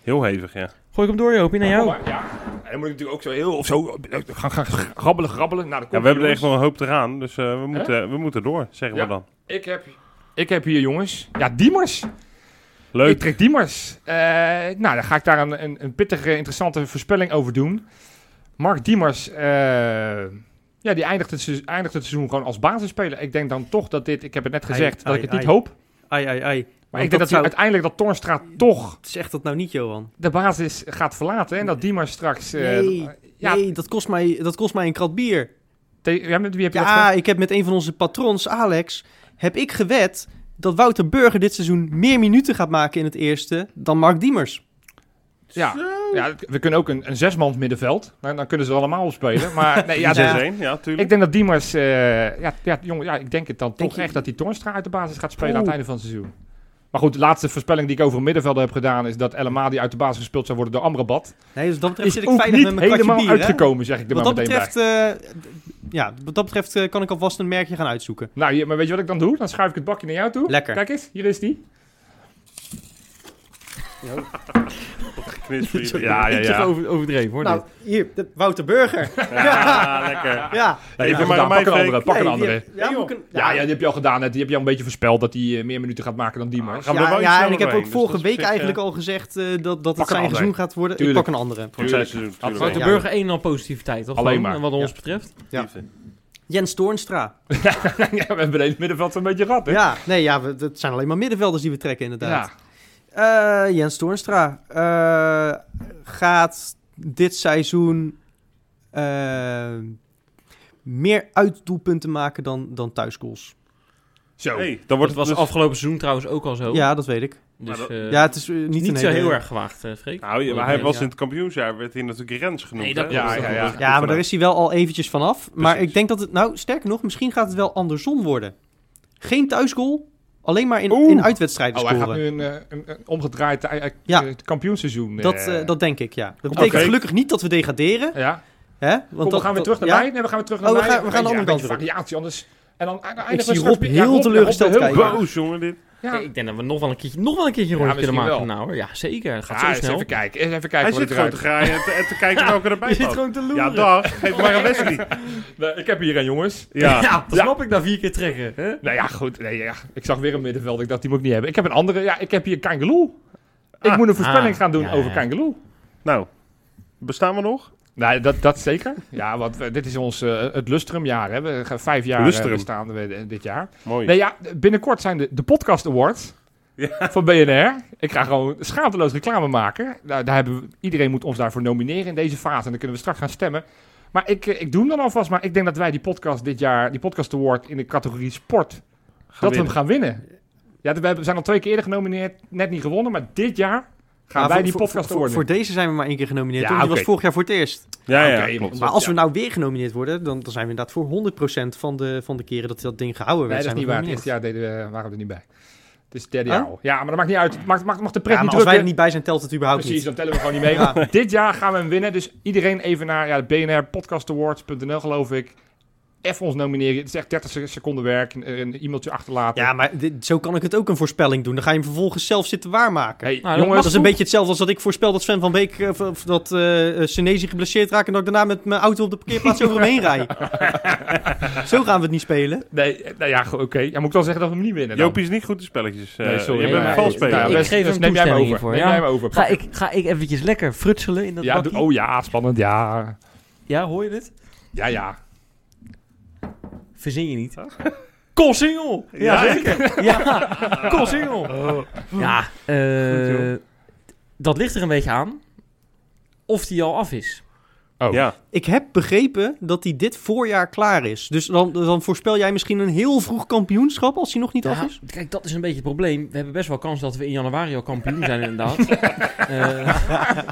S5: Heel hevig, ja.
S3: Gooi ik hem door, Jopie, naar
S4: Ja,
S3: jou.
S4: maar- ja. En dan moet ik natuurlijk ook zo heel... Of zo... eh, Gaan, gaan grabbelen, grabbelen. Nou, dan
S5: ja
S4: komt
S5: we hebben er echt
S4: jongens.
S5: nog een hoop te gaan, dus eh, we, moeten, we moeten door, zeggen
S4: Ja.
S5: we dan.
S4: Ik heb... Ik heb hier, jongens... Ja, Diemers.
S1: Leuk.
S4: Patrick Diemers. Eh, nou, dan ga ik daar een, een, een pittige, interessante voorspelling over doen. Mark Diemers, eh, ja, die eindigt het, seizoen- eindigt het seizoen gewoon als basisspeler. Ik denk dan toch dat dit, ik heb het net
S2: Ai,
S4: gezegd, dat
S2: ai,
S4: ik het niet
S2: ai.
S4: hoop.
S2: Ai, ai, ai.
S4: Maar
S2: Want
S4: ik denk dat,
S2: zou...
S4: we uiteindelijk dat Tornstra toch
S2: Zeg dat nou niet, Johan.
S4: de basis gaat verlaten. En dat Diemers straks... eh,
S2: Nee,
S4: ja,
S2: nee dat, kost mij, dat kost mij een krat bier.
S4: te- ja, met wie heb je dat
S2: Ja,
S4: gedaan?
S2: ik heb met een van onze patrons, Alex, heb ik gewet dat Wouter Burger dit seizoen meer minuten gaat maken in het eerste dan Mark Diemers.
S4: Ja, ja, we kunnen ook een, een zesmans middenveld. Nou, dan kunnen ze er allemaal op spelen. Maar nee, ja,
S5: Ja,
S4: dat-
S5: dat is één. Ja,
S4: ik
S5: tuurlijk.
S4: denk dat Diemers... eh, ja, ja, jongen, ja, ik denk het dan
S2: Denk
S4: toch
S2: je-
S4: echt dat die Tornstra uit de basis gaat spelen
S2: Oeh.
S4: aan het einde van het seizoen. Maar goed, de laatste voorspelling die ik over een middenvelder heb gedaan... is dat El die uit de basis gespeeld zou worden door Amrabat.
S2: Nee, dus dat betreft
S4: Is
S2: zit ik
S4: ook
S2: veilig
S4: niet
S2: met mijn kratje
S4: helemaal
S2: bier. hè?
S4: uitgekomen, zeg ik er
S2: Wat
S4: maar
S2: dat
S4: meteen
S2: betreft, eh, d- ja, wat dat betreft eh, kan ik alvast een merkje gaan uitzoeken.
S4: bij. Nou, hier- maar weet je wat ik dan doe? Dan schuif ik het bakje naar jou toe.
S2: eh, Lekker.
S4: Kijk eens, hier is die.
S5: Knits voor jullie. Ja, ja,
S3: Iets
S5: ja.
S3: over- overdreven hoor.
S2: Nou,
S3: dit.
S2: hier, de- Wouter Burger.
S5: Ja, lekker.
S2: Ja.
S5: Even
S4: Ja,
S5: maar
S4: gedaan.
S5: aan mij,
S4: pak een
S5: Freek.
S4: andere, pak een
S2: Nee,
S4: andere.
S2: die- ja, moet ik een-
S4: Ja, ja, die heb je al gedaan. Net. Die heb je al een beetje voorspeld dat hij eh, meer minuten gaat maken dan Diemers.
S5: gaan we er
S2: Ja,
S5: wel iets
S2: ja, en
S5: sneller
S2: ik heb ook
S5: doorheen, dus
S2: vorige
S5: dat is op
S2: week
S5: zich,
S2: eigenlijk
S5: eh,
S2: al gezegd eh, dat, dat
S4: een
S2: het zijn
S4: andere.
S2: staan gaat worden.
S4: Tuurlijk.
S2: Ik pak een andere.
S5: Voor het
S4: Tuurlijk.
S5: seizoen,
S4: Absoluut.
S5: tuurlijk.
S3: de
S4: ja.
S3: burger één en al positiviteit, toch?
S4: Alleen
S3: Alleen
S4: maar.
S3: Wat ons
S4: Ja.
S3: betreft.
S2: Ja. Jens Toornstra.
S4: ja, we hebben de hele middenveld een beetje gehad, hè?
S2: Ja, nee, ja, we, dat zijn alleen maar middenvelders die we trekken inderdaad.
S4: Ja.
S2: Eh, Jens Toornstra eh, gaat dit seizoen eh, meer uitdoelpunten maken dan, dan thuisgoals.
S4: Zo.
S5: Hey, dan wordt
S3: Dat
S5: het
S3: was
S5: dus-
S3: afgelopen seizoen trouwens ook al zo.
S2: Ja, dat weet ik.
S3: Dus,
S5: Maar dat-
S3: eh,
S2: ja, het is eh, niet,
S3: niet,
S2: een
S3: zo
S2: hele-
S3: heel erg gewaagd, eh, Freek.
S5: Nou, ja, maar hij
S3: Ja.
S5: was in het kampioensjaar, werd hij natuurlijk Rens genoemd.
S3: Nee, dat
S5: hè?
S4: klopt, Ja, Nou, dat ja, klopt. ja.
S2: Ja, maar daar is hij wel al eventjes vanaf. Maar
S5: Precies.
S2: ik denk dat het, nou, sterker nog, misschien gaat het wel andersom worden. Geen thuisgoal, alleen maar in,
S5: Oeh.
S2: in uitwedstrijden
S4: Oh, hij
S2: scoren.
S4: gaat nu een, eh, een, een omgedraaid eh, eh,
S2: Ja.
S4: eh, kampioensseizoen. eh.
S2: Dat, eh, dat denk ik, ja. Dat
S5: Oké.
S2: betekent gelukkig niet dat we degraderen.
S4: Ja.
S2: Hè? Want
S4: Kom,
S2: dat-
S4: we gaan weer
S2: dat-
S4: terug naar
S2: ja?
S4: mij. Nee, we gaan weer terug naar
S2: Oh, we
S4: mij.
S2: gaan- we gaan de
S4: Ja,
S2: andere
S4: een
S2: kant
S4: beetje variatie, anders... En dan eindigen
S2: Ik
S4: we
S2: zie
S4: straks
S2: Rob
S4: weer- ja,
S2: heel
S4: Rob, eh,
S2: teleurgesteld
S4: Rob, heel
S2: kijken.
S4: boos.
S5: Boos, jongen, dit.
S4: Ja.
S3: Ik denk dat we nog wel een keertje, nog wel een keertje een
S4: Ja,
S3: rondje kunnen maken.
S4: misschien wel.
S3: Nou, hoor. ja, zeker. Het gaat
S4: Ja,
S3: zo
S4: eens
S3: snel.
S4: even kijken. Eens even kijken
S5: Hij
S4: wat
S5: zit
S4: ik
S5: gewoon
S4: eruit...
S5: te graaien en te- en te kijken welke erbij
S3: Je zit
S5: past.
S3: gewoon te
S5: Ja,
S3: loeren. Ja,
S5: dag. Geef maar een Wesley.
S4: Nee, Ik heb hier een, jongens.
S5: Ja.
S3: dat snap ik na vier keer trekken. Hè?
S4: Nou ja, goed. Nee, ja. Ik zag weer een middenveld. Ik dacht, die moet ik niet hebben. Ik heb een andere. Ja, ik heb hier Kangeloel. Ik
S5: Ah.
S4: moet een voorspelling
S3: Ah.
S4: gaan doen
S3: Ja,
S4: over
S3: ja.
S4: Kangeloel.
S5: Nou, bestaan we nog?
S4: Nou, dat, dat zeker. Ja, want we- dit is ons eh, het lustrumjaar. Hè. We gaan vijf jaar eh,
S5: Lustrum.
S4: bestaan we eh, dit jaar.
S5: Mooi.
S4: Nee, ja, binnenkort zijn de, de podcast awards van BNR. Ik ga gewoon schaamteloos reclame maken. Nou, daar hebben we, iedereen moet ons daarvoor nomineren in deze fase. En dan kunnen we straks gaan stemmen. Maar ik, eh, ik doe hem dan alvast. Maar ik denk dat wij die podcast dit jaar, die podcast award in de categorie sport, dat we
S5: winnen.
S4: hem gaan winnen. Ja, we hebben- zijn al twee keer eerder genomineerd, net niet gewonnen. Maar dit jaar gaan
S2: Maar
S4: wij
S2: voor-
S4: die
S2: voor-
S4: podcast
S2: voor,
S4: award
S2: voor
S4: winnen.
S2: deze zijn we maar één keer genomineerd.
S4: Ja,
S2: toch? Die was
S4: oké.
S2: vorig jaar voor het eerst.
S5: Ja, ja,
S4: Oké,
S5: klopt.
S2: Maar als we
S4: ja.
S2: nou weer genomineerd worden, dan, dan zijn we inderdaad voor 100% van de, van de keren dat dat ding gehouden
S4: Nee,
S2: werd.
S4: dat is
S2: zijn
S4: niet
S2: we
S4: waar. Het eerste
S2: genomineerd.
S4: jaar deden we, waren we er niet bij. Het is het derde
S2: Oh?
S4: jaar al. Ja, maar dat maakt niet uit. Het Maakt, maakt, mag de pret
S2: Ja,
S4: niet
S2: maar als wij
S4: drukken.
S2: er niet bij zijn, telt het überhaupt
S4: Precies,
S2: niet.
S4: dan tellen we gewoon niet mee.
S2: Ja.
S4: Dit jaar gaan we hem winnen. Dus iedereen even naar ja, bnrpodcastawards.nl geloof ik. Even ons nomineren. Het is echt 30 se- seconden werk. Een, een e-mailtje achterlaten.
S2: Ja, maar dit- zo kan ik het ook een voorspelling doen. Dan ga je hem vervolgens zelf zitten waarmaken.
S4: Hey,
S3: Nou,
S4: jongens,
S2: dat is een beetje hetzelfde als dat ik voorspel dat Sven van Beek eh, of- of dat eh eh, Senesi geblesseerd raakt en dat ik daarna met mijn auto op de parkeerplaats over hem heen rij. Zo gaan we het niet spelen.
S4: Nee, nou ja, go- oké. Ja, moet ik dan zeggen dat we hem niet winnen dan?
S5: Jopie is niet goed in spelletjes. eh,
S4: Nee, sorry.
S5: Je bent
S4: Ja,
S5: een vals
S4: ja, ja,
S5: speler.
S3: Ik
S4: best-
S3: geef
S4: best-
S3: hem
S4: Neem jij hem
S3: toestemming
S4: over.
S3: hiervoor,
S4: Neem
S3: ja.
S4: jij hem over.
S3: Ga ik, ga ik eventjes lekker frutselen in dat
S4: Ja,
S3: bakkie?
S4: doe- oh ja, spannend. Ja,
S3: Ja, hoor je dit?
S4: ja, ja.
S3: Verzin je niet. Koolsingel! Ja, zeker. Oh. Ja, koolsingel. Ja, eh, dat ligt er een beetje aan of die al af is.
S4: Oh.
S5: Ja,
S2: Ik heb begrepen dat hij dit voorjaar klaar is. Dus dan, dan voorspel jij misschien een heel vroeg kampioenschap als hij nog niet af
S3: Ja,
S2: is.
S3: Kijk, dat is een beetje het probleem. We hebben best wel kans dat we in januari al kampioen zijn, inderdaad. Eh,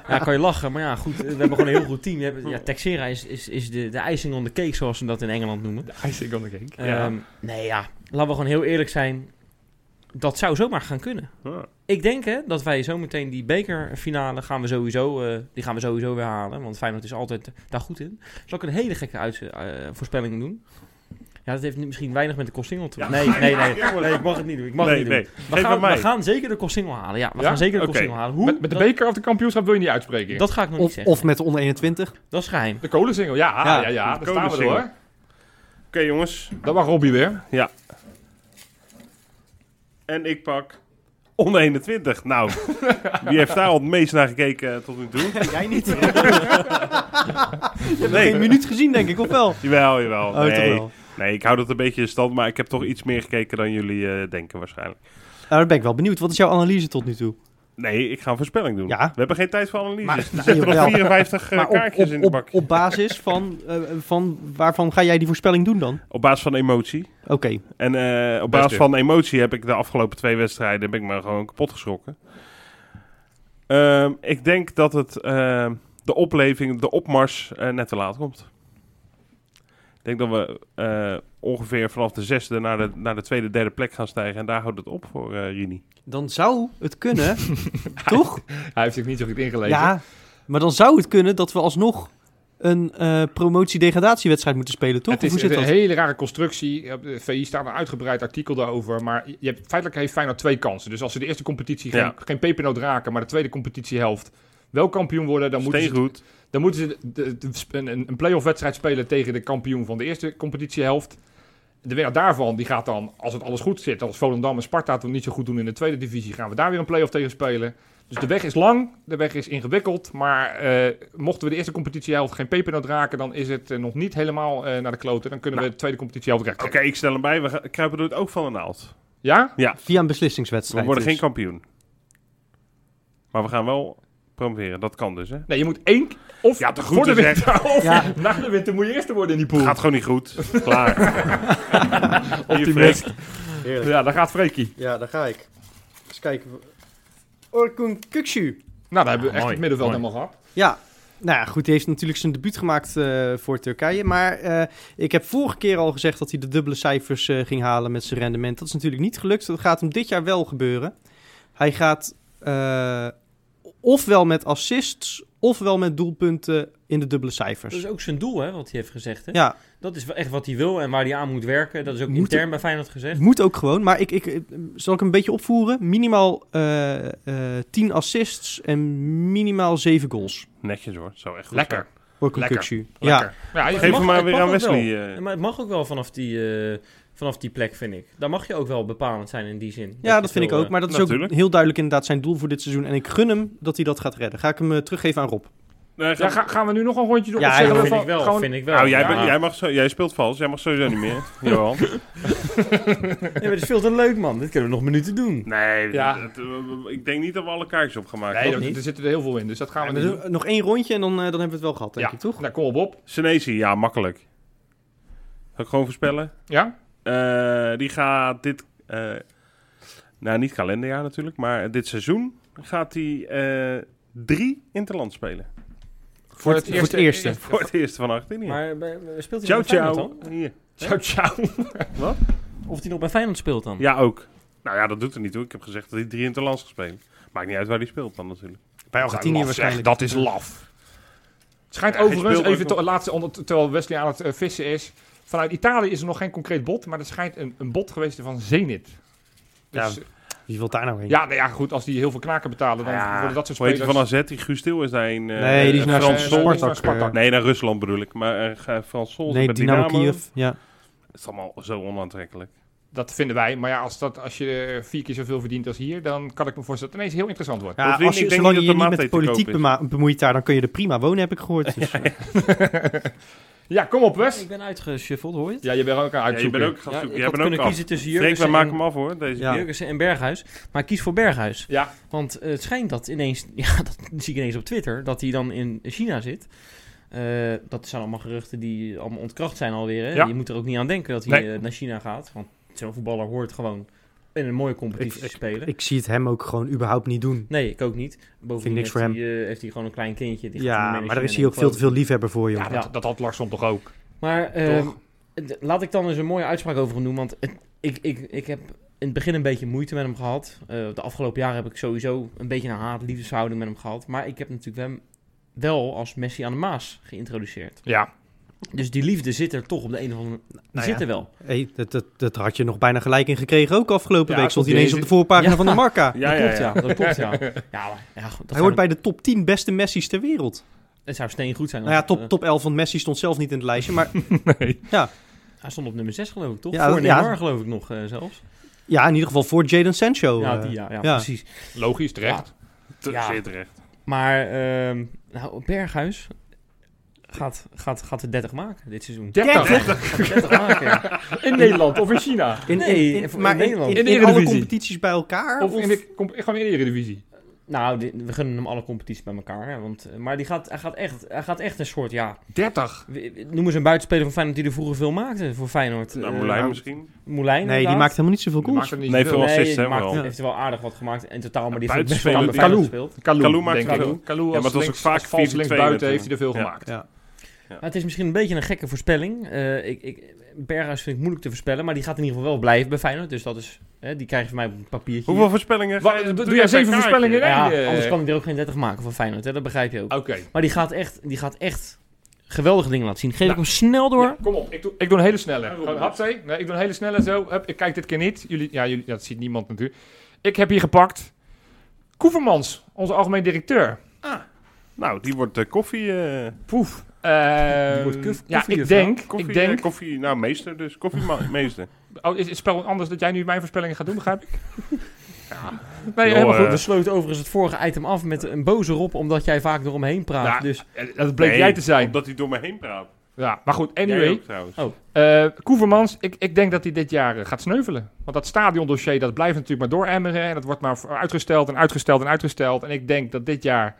S3: ja, kan je lachen. Maar ja, goed, we hebben gewoon een heel goed team. We hebben, ja, Texera is, is, is de, de icing on the cake, zoals ze dat in Engeland noemen.
S4: I think on the cake.
S3: Ehm, nee, ja. Laten we gewoon heel eerlijk zijn. Dat zou zomaar gaan kunnen.
S5: Ja.
S3: Ik denk hè, dat wij zometeen die bekerfinale gaan we sowieso, eh, die gaan we sowieso weer halen. Want Feyenoord is altijd daar goed in. Zal ik een hele gekke uit, eh, voorspelling doen? Ja, dat heeft misschien weinig met de Kostingel te Nee, nee, nee. Nee, ik mag het niet doen. Ik mag
S5: nee,
S3: het niet
S5: nee.
S3: doen. We
S5: Geef aan
S3: gaan, we
S5: mij.
S3: gaan zeker de Kostingel halen. Ja, we
S4: Ja?
S3: gaan zeker de
S5: Oké.
S3: Kostingel halen. Hoe?
S4: Met, met de
S3: dat,
S4: beker of de kampioenschap wil je niet uitspreken.
S3: dat ga ik nog niet
S2: Of,
S3: zeggen.
S2: of met de onder 21.
S3: Dat is geheim.
S4: De kolensingel, ja, ja,
S2: Ja,
S4: ja.
S5: de
S4: ja. Daar staan we er,
S5: kolensingel.
S4: hoor.
S5: Oké, jongens.
S4: Dat was Robbie weer.
S5: En ik pak Onder 21. Nou, wie heeft daar al het meest naar gekeken eh, tot nu toe?
S2: Jij niet. Je hebt
S5: Nee.
S2: geen minuut gezien, denk ik, of wel?
S5: Jawel, jawel.
S2: Oh, toch
S5: nee.
S2: wel.
S5: nee, ik hou dat een beetje in stand, maar ik heb toch iets meer gekeken dan jullie eh, denken waarschijnlijk.
S2: Nou, dan ben ik wel benieuwd. Wat is jouw analyse tot nu toe?
S5: Nee, ik ga een voorspelling doen.
S2: Ja.
S5: We hebben geen tijd voor analyses.
S2: Maar-
S5: er
S2: nou,
S5: zitten nog
S2: jawel.
S5: 54 eh,
S2: Maar op,
S5: kaartjes
S2: op,
S5: in de
S2: op-
S5: bak. Op,
S2: op basis van, eh, van waarvan ga jij die voorspelling doen dan?
S5: basis van emotie.
S2: Oké,
S5: En eh, op
S4: Best
S5: basis
S4: weer.
S5: van emotie heb ik de afgelopen twee wedstrijden ben ik me gewoon kapot geschrokken. Ehm, ik denk dat het, ehm, de opleving, de opmars eh, net te laat komt. Ik denk dat we eh, ongeveer vanaf de zesde naar de, naar de tweede, derde plek gaan stijgen. En daar houdt het op voor eh Rini.
S2: dan zou het kunnen, toch?
S4: Hij heeft zich niet zo goed ingelezen.
S2: Ja, maar dan zou het kunnen dat we alsnog een eh, promotie-degradatiewedstrijd moeten spelen, toch?
S4: Het is
S2: Of hoe
S4: een
S2: zit dat?
S4: hele rare constructie. Op de VI staat een uitgebreid artikel daarover. Maar je hebt, feitelijk heeft Feyenoord twee kansen. Dus als ze de eerste competitie
S5: Ja.
S4: geen, geen pepernoot raken, maar de tweede competitiehelft wel kampioen worden, dan moeten ze
S5: goed.
S4: Dan moeten ze de- de- de- sp- een, een play-off wedstrijd spelen tegen de kampioen van de eerste competitiehelft. De winnaar daarvan, die gaat dan, als het alles goed zit, als Volendam en Sparta het niet zo goed doen in de tweede divisie, gaan we daar weer een play-off tegen spelen. Dus de weg is lang, de weg is ingewikkeld, maar eh, mochten we de eerste competitiehelft geen pepernoot raken, dan is het eh, nog niet helemaal eh, naar de kloten. Dan kunnen we de tweede competitiehelft recht
S5: Nou. Oké, ik stel hem bij. We gaan- kruipen door het ook van de naald.
S4: Ja?
S2: Via een
S5: We
S2: beslissingswedstrijd.
S5: worden
S2: dus.
S5: geen kampioen. Maar we gaan wel promoveren. Dat kan dus, hè?
S4: Nee, je moet één, of
S5: Ja, te goed
S4: voor de
S5: te
S4: winter, of
S2: Ja.
S4: na de winter moet je eerste worden in die pool.
S5: Gaat gewoon niet goed. Klaar.
S4: Optimist.
S5: Hier, Freek.
S4: Ja, daar gaat Freekie.
S2: Ja, daar ga ik. Eens kijken. Orkun Kuksu.
S4: Nou, daar hebben we echt
S5: mooi,
S4: het middenveld
S5: mooi.
S4: helemaal gehad.
S2: Ja, nou ja, goed, die heeft natuurlijk zijn debuut gemaakt eh, voor Turkije. Maar eh, ik heb vorige keer al gezegd dat hij de dubbele cijfers eh, ging halen met zijn rendement. Dat is natuurlijk niet gelukt. Dat gaat hem dit jaar wel gebeuren. Hij gaat eh, ofwel met assists, ofwel met doelpunten in de dubbele
S3: Dat
S2: cijfers.
S3: is ook zijn doel, hè, wat hij heeft gezegd. Hè?
S2: ja,
S3: Dat is wel echt wat hij wil en waar hij aan moet werken. Dat is ook
S2: Moet-
S3: intern bij Feyenoord gezegd.
S2: Het moet ook gewoon, maar ik, ik, eh, zal ik hem een beetje opvoeren? Minimaal eh eh 10 assists en minimaal 7 goals.
S5: Netjes hoor. Zou echt goed
S4: Lekker.
S5: zijn.
S2: Orkun
S4: Lekker.
S2: Kuksu. Ja,
S4: Lekker. Ja, je
S5: Geef
S3: Mag-
S5: hem maar
S3: het
S5: weer
S3: mag
S5: aan
S3: ook
S5: Wesley,
S3: wel.
S5: eh.
S3: Maar het mag ook wel vanaf die, eh, vanaf die plek, vind ik. Daar mag je ook wel bepalend zijn in die zin.
S2: ja,
S3: je
S2: dat
S3: veel,
S2: vind ik ook.
S3: eh,
S2: Maar dat is
S5: natuurlijk.
S2: ook heel duidelijk inderdaad zijn doel voor dit seizoen. En ik gun hem dat hij dat gaat redden. Ga ik hem eh, teruggeven aan Rob.
S5: Nee,
S4: Ja,
S5: ga-
S4: ga- gaan we nu nog een rondje doen?
S2: Ja,
S4: Of
S2: ja,
S4: zeggen
S3: dat
S4: we
S3: vind
S4: van-
S3: ik wel.
S4: gewoon-
S3: Vind ik wel.
S5: Nou, jij,
S3: ja.
S5: bent- jij, mag zo, jij speelt vals. Jij mag sowieso niet meer. Johan.
S3: Ja, maar dit is veel te leuk, man. Dit kunnen we nog minuten doen.
S5: Nee,
S4: Ja.
S5: dat- dat- ik denk niet dat we alle kaartjes op gaan maken.
S4: Nee,
S5: hoor.
S4: er, er zitten er heel veel in, dus dat gaan we
S2: We
S4: niet doen.
S2: doen nog één rondje en dan, eh, dan hebben we het wel gehad, denk
S4: ja,
S2: ik, toch?
S4: Nou, kom op op.
S5: Senesi, ja, makkelijk. Zal ik gewoon voorspellen?
S4: Ja?
S5: Eh, die gaat dit... eh, nou, niet kalenderjaar natuurlijk, maar dit seizoen gaat hij eh drie interland spelen.
S2: Voor het- voor het eerste.
S5: Voor het eerste van 18 jaar.
S3: Maar bij- bij- speelt hij
S5: Ciao,
S3: nog bij Feyenoord
S5: ciao.
S3: dan?
S5: Hier.
S4: Ciao, ciao.
S3: Of hij nog bij Feyenoord speelt dan?
S5: Ja, ook. Nou ja, dat doet er niet toe. Ik heb gezegd dat hij drie interlands gaat spelen. Maakt niet uit waar hij speelt dan natuurlijk.
S2: Bij Argentinië
S4: Laf, zeg,
S2: waarschijnlijk.
S4: Dat is laf. Het schijnt
S5: Ja, hij
S4: overigens,
S5: speelt
S4: even
S5: ook nog.
S4: to- laatste, onder- terwijl Wesley aan het eh, vissen is. Vanuit Italië is er nog geen concreet bod, maar er schijnt een, een bod geweest van Zenit. Dus,
S2: Ja.
S4: ja,
S2: Wie wil daar nou heen?
S4: ja, nou ja, goed, als die heel veel knaken betalen, dan
S5: Ja,
S4: worden dat soort
S5: Hoe heet hij
S4: spelers...
S5: van AZ? Die Guus Til is daarheen. eh,
S2: nee, die is
S5: eh,
S2: naar
S5: Frans
S4: eh,
S5: Sol.
S4: Spartak.
S2: Spartak. eh.
S5: Nee, naar Rusland bedoel ik. Maar eh Frans Sol
S2: Nee,
S5: met
S2: Dynamo
S5: Dynamo.
S2: Kiev. Ja.
S5: Het is allemaal zo onaantrekkelijk.
S4: dat vinden wij. Maar ja, als, dat, als je eh, vier keer zoveel verdient als hier, dan kan ik me voorstellen dat het ineens heel interessant wordt.
S2: Ja,
S5: Dat vind
S2: als
S5: ik-
S2: je,
S5: ik denk
S2: zolang
S5: niet
S2: je je
S5: dat
S2: niet
S5: de
S2: met de
S5: maat te
S2: politiek
S5: koop is.
S2: bema- bemoeit daar, dan kun je er prima wonen, heb ik gehoord. Dus, eh,
S4: Ja, kom op, Wes.
S3: Ik ben uitgeshuffeld, hoor je het?
S4: Ja, je bent ook aan
S5: Ja, je
S4: uitzoeken.
S5: bent ook gaan
S3: Ja,
S5: zoeken.
S3: ik
S5: Jij
S3: had
S5: bent ook
S3: kunnen
S5: af.
S3: kiezen tussen
S5: Freek, we
S3: Jurgensen
S5: maken
S3: en,
S5: hem af hoor. Deze
S2: Ja.
S5: keer.
S3: Jurgensen en Berghuis. Maar ik kies voor Berghuis.
S4: Ja,
S3: Want eh, het schijnt dat ineens... Ja, dat zie ik ineens op Twitter. Dat hij dan in China zit. Eh, dat zijn allemaal geruchten die allemaal ontkracht zijn alweer. Hè?
S4: Ja.
S3: Je moet er ook niet aan denken dat hij
S4: Nee.
S3: eh, naar China gaat. Want zo'n voetballer hoort gewoon in een mooie competitie
S2: Ik-
S3: te spelen.
S2: ik zie het hem ook gewoon überhaupt niet doen.
S3: nee, ik ook niet. Bovendien
S2: niks
S3: heeft,
S2: voor
S3: hij, eh, heeft hij gewoon een klein kindje. Die gaat hij niet
S2: Ja,
S3: mee naar
S2: maar daar
S3: China
S2: is hij ook
S3: nemen,
S2: veel te veel liefhebber voor, joh.
S4: ja, dat, dat had Larsson toch ook.
S3: Maar ehm,
S4: Toch?
S3: d- laat ik dan eens een mooie uitspraak over hem doen. Want het- ik, ik, ik heb in het begin een beetje moeite met hem gehad. Eh, de afgelopen jaren heb ik sowieso een beetje een haat-liefdesverhouding met hem gehad. Maar ik heb natuurlijk hem wel als Messi aan de Maas geïntroduceerd.
S4: Ja,
S3: Dus die liefde zit er toch op de een of andere... Die
S2: Nou ja.
S3: zit er wel.
S2: Hey, dat, dat, dat had je nog bijna gelijk in gekregen ook afgelopen
S4: Ja,
S2: week. Stond hij
S4: klopt.
S2: ineens op de voorpagina
S3: Ja.
S2: van de Marca.
S5: Ja,
S3: dat
S5: ja,
S3: klopt,
S5: ja.
S3: ja. Dat klopt, ja. ja, maar, ja goed, dat
S2: hij
S3: zou-
S2: hoort bij de top 10 beste Messi's ter wereld.
S3: Het zou steen goed zijn. eh,
S2: Nou ja,
S3: als het,
S2: top, top 11 van Messi stond zelf niet in het lijstje. Maar
S3: eh, hij stond op nummer 6 geloof ik, toch?
S2: Ja,
S3: Voor
S2: dat- ja.
S3: Neymar geloof ik nog eh, zelfs.
S2: Ja, in ieder geval voor Jadon Sancho.
S3: ja,
S2: eh.
S3: die, ja, ja,
S2: ja.
S3: precies.
S4: Logisch, terecht.
S5: Te-
S3: Ja.
S5: Zeer terecht.
S3: Maar ehm, nou, Berghuis gaat, gaat, gaat de 30 maken dit seizoen.
S4: 30.
S3: Gaat de 30 maken. ja.
S4: In Nederland of in China.
S2: In,
S3: Nee,
S2: in, in,
S3: voor-
S2: maar
S3: in
S2: in,
S3: Nederland.
S2: in-
S4: In de
S2: in alle
S4: Eredivisie.
S2: competities bij elkaar?
S4: Of
S2: of-
S4: in de, kom, gewoon in de Eredivisie.
S3: Nou, dit- we gunnen hem alle competities bij elkaar. Hè, want, eh, maar die gaat, hij, gaat echt, hij gaat echt een soort, ja...
S4: 30.
S3: we- we- Noemen ze een buitenspeler van Feyenoord die er vroeger veel maakte voor Feyenoord.
S5: Nou,
S3: Eh,
S5: Moulijn misschien.
S3: Moulijn,
S2: Nee, die
S3: inderdaad.
S2: maakt helemaal niet zoveel
S4: Die maakt
S2: goals.
S4: er niet
S5: Nee,
S4: zoveel.
S5: veel
S3: Nee,
S5: assists,
S3: die
S5: hè,
S3: maakt-
S5: wel.
S3: heeft er wel aardig wat gemaakt in totaal, maar die heeft best wel
S5: Buitenspeler
S3: bij
S5: die-
S3: Feyenoord gespeeld.
S5: Kalou
S4: Kalou,
S5: maakt
S4: denk
S5: er
S4: ik.
S5: veel.
S4: Kalou
S5: Ja,
S4: als
S5: maar het was
S4: links-
S5: ook
S4: als
S5: vaak
S4: vals
S5: 4-2
S4: linksbuiten
S5: met,
S4: heeft hij er veel
S5: ja.
S4: gemaakt.
S2: Ja.
S3: Maar het is misschien een beetje een gekke voorspelling. Eh, ik, ik, Berghuis vind ik moeilijk te voorspellen, maar die gaat in ieder geval wel blijven bij Feyenoord. Dus dat is, hè, die krijg je van mij op een papiertje.
S5: Hoeveel voorspellingen?
S4: Wat,
S5: ga je-
S4: doe
S5: per
S4: jij
S5: kaartje?
S4: zeven voorspellingen, hè?
S3: ja,
S4: eh,
S3: anders kan hij er ook geen 30 maken van Feyenoord, hè, dat begrijp je ook.
S4: Oké.
S3: Maar die gaat echt, die gaat echt geweldige dingen laten zien. Geef ik
S4: Nou,
S3: hem snel door.
S4: Ja, kom op, ik doe, ik doe een hele snelle. Gewoon hapzee. Nee, ik doe een hele snelle zo. Hup, ik kijk dit keer niet. Jullie, ja, jullie, ja, dat ziet niemand natuurlijk. Ik heb hier gepakt Koevermans, onze algemeen directeur.
S5: Nou, die wordt eh, koffie... eh,
S4: Poef. Eh,
S3: Die wordt kuf-
S4: ja,
S3: koffie
S4: ik
S3: of zo?
S4: denk,
S5: koffie,
S4: ik
S5: eh,
S4: denk...
S5: koffie, nou, meester dus. Koffiemeester.
S4: Oh, is is het spel anders dat jij nu mijn voorspellingen gaat doen, begrijp ik? Ja. Nee,
S5: Joh,
S4: helemaal
S5: eh,
S4: goed. Dus-
S3: We sloten overigens het vorige item af met een boze Rob, omdat jij vaak eromheen praat.
S5: Nou,
S4: Ja.
S3: Dus
S4: Eh, Dat bleek
S5: Nee,
S4: jij te zijn.
S5: Omdat hij door me heen praat.
S4: Ja, maar goed,
S5: Jij
S4: anyway.
S5: ook, trouwens.
S3: Oh.
S4: Eh Koevermans, ik, ik denk dat hij dit jaar eh, gaat sneuvelen. Want dat stadiondossier dat blijft natuurlijk maar dooremmeren. En dat wordt maar voor- uitgesteld en uitgesteld en uitgesteld. En ik denk dat dit jaar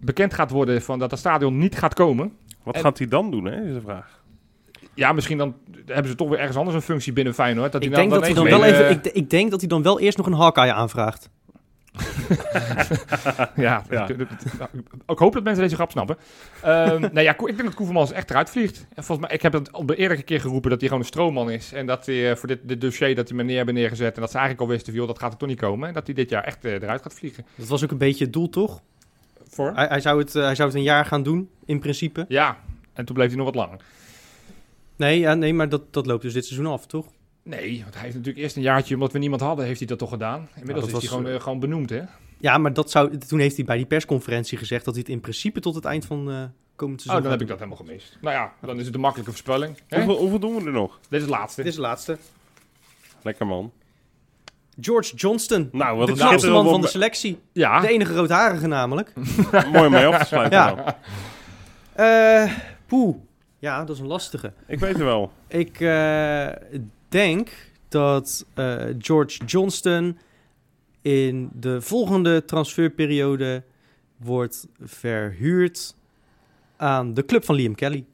S4: bekend gaat worden van dat dat stadion niet gaat komen.
S5: Wat
S4: En-
S5: gaat hij dan doen, hè, is de vraag.
S4: Ja, misschien dan hebben ze toch weer ergens anders een functie binnen Feyenoord. Dat
S2: Ik
S4: hij
S2: denk dat hij dan
S4: ineens
S2: wel
S4: weer,
S2: even-
S4: eh,
S2: ik- ik denk dat hij dan wel eerst nog een Hawkeye aanvraagt.
S4: Ja,
S5: Ja.
S4: ik- ik- nou, ik hoop dat mensen deze grap snappen. Ehm nou ja, Ko- ik denk dat Koevermans echt eruit vliegt. En volgens mij, ik heb het al bij eerdere keer geroepen dat hij gewoon een stroomman is. En dat hij eh, voor dit, dit dossier dat hij me neer hebben neergezet. En dat ze eigenlijk al wisten, van, joh, dat gaat er toch niet komen. En dat hij dit jaar echt eh, eruit gaat vliegen.
S2: Dat was ook een beetje het doel, toch?
S4: Voor?
S2: Hij, hij, zou het, eh, hij zou het een jaar gaan doen, in principe.
S4: Ja, en toen bleef hij nog wat langer.
S2: Nee, ja, nee maar dat, dat loopt dus dit seizoen af, toch?
S4: Nee, want hij heeft natuurlijk eerst een jaartje, omdat we niemand hadden, heeft hij dat toch gedaan. Inmiddels
S2: Nou, dat
S4: is
S2: was-
S4: hij gewoon, eh, gewoon benoemd, hè?
S2: Ja, maar dat zou, toen heeft hij bij die persconferentie gezegd dat hij het in principe tot het eind van eh komend seizoen
S4: Oh,
S2: gaat
S4: dan heb ik
S2: doen.
S4: dat helemaal gemist. Nou ja, dan is het een makkelijke voorspelling. hè?
S5: Hoeveel, hoeveel doen we er nog?
S4: Dit is het laatste.
S2: Dit is de laatste.
S5: Lekker man.
S2: George Johnston.
S5: Nou, wat
S2: de
S5: een
S2: knapste
S5: schitterend
S2: man van de
S5: om-
S2: selectie.
S4: Ja,
S2: De enige roodharige namelijk.
S5: Mooi om mee af te sluiten.
S2: Ja.
S5: wel.
S2: Eh poeh. Ja, dat is een lastige.
S5: Ik weet het wel.
S2: Ik eh, denk dat eh, George Johnston in de volgende transferperiode wordt verhuurd aan de club van Liam Kelly.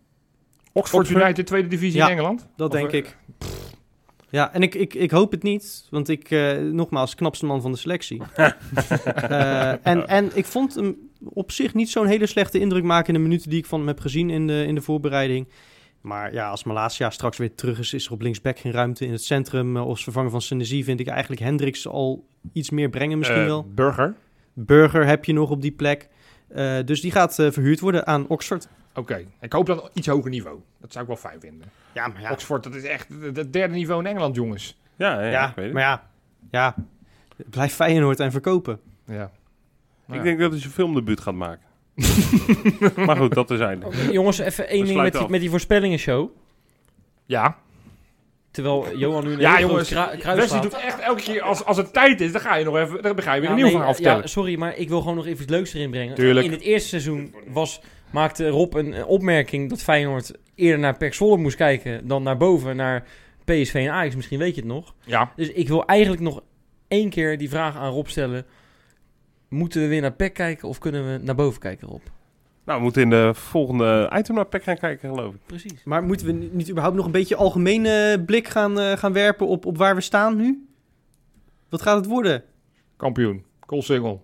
S4: Oxford United, tweede divisie
S2: Ja.
S4: in Engeland.
S2: Dat
S4: Of,
S2: denk
S4: eh,
S2: ik. Ja, en ik, ik, ik hoop het niet, want ik, eh, nogmaals, knapste man van de selectie. Eh, en, en ik vond hem op zich niet zo'n hele slechte indruk maken in de minuten die ik van hem heb gezien in de, in de voorbereiding. Maar ja, als Malasia straks weer terug is, is er op linksback geen ruimte in het centrum. eh, Als vervanger van Senesi vind ik eigenlijk Hendricks al iets meer brengen misschien
S4: eh,
S2: wel.
S4: Burger.
S2: Burger heb je nog op die plek. Eh, dus die gaat eh, verhuurd worden aan Oxford.
S4: Oké, ik hoop dat iets hoger niveau. Dat zou ik wel fijn vinden.
S2: Ja, maar ja,
S4: Oxford, dat is echt het derde niveau in Engeland, jongens.
S5: Ja, ja,
S2: ja,
S5: ik weet het.
S2: maar ja, ja, blijf Feyenoord en verkopen.
S4: Ja.
S5: Ik denk dat hij zijn filmdebuut gaat maken. maar goed, dat is einde.
S3: jongens, even één
S5: We
S3: ding met
S5: sluiten
S3: die,
S5: af.
S3: met die voorspellingen show.
S4: ja.
S3: Terwijl Johan nu een
S4: Ja,
S3: hele grote
S4: jongens.
S3: kra- kruis
S4: Wesley
S3: slaat.
S4: doet echt elke keer, als, als het tijd is, dan ga je nog even, dan ga je weer
S3: Ja,
S4: een nieuw
S3: nee,
S4: verhaal
S3: ja,
S4: vertellen.
S3: sorry, maar ik wil gewoon nog even iets leuks erin brengen.
S4: Tuurlijk.
S3: In het eerste seizoen was, maakte Rob een, een opmerking dat Feyenoord eerder naar Pek Zwolle moest kijken dan naar boven, naar PSV en Ajax. Misschien weet je het nog.
S4: Ja,
S3: Dus ik wil eigenlijk nog één keer die vraag aan Rob stellen. Moeten we weer naar Pek kijken of kunnen we naar boven kijken, Rob?
S5: Nou, we moeten in de volgende item naar Pek gaan kijken, geloof ik.
S3: Precies.
S2: Maar moeten we ni- niet überhaupt nog een beetje algemene blik gaan, eh, gaan werpen op, op waar we staan nu? Wat gaat het worden?
S4: kampioen. Cool single.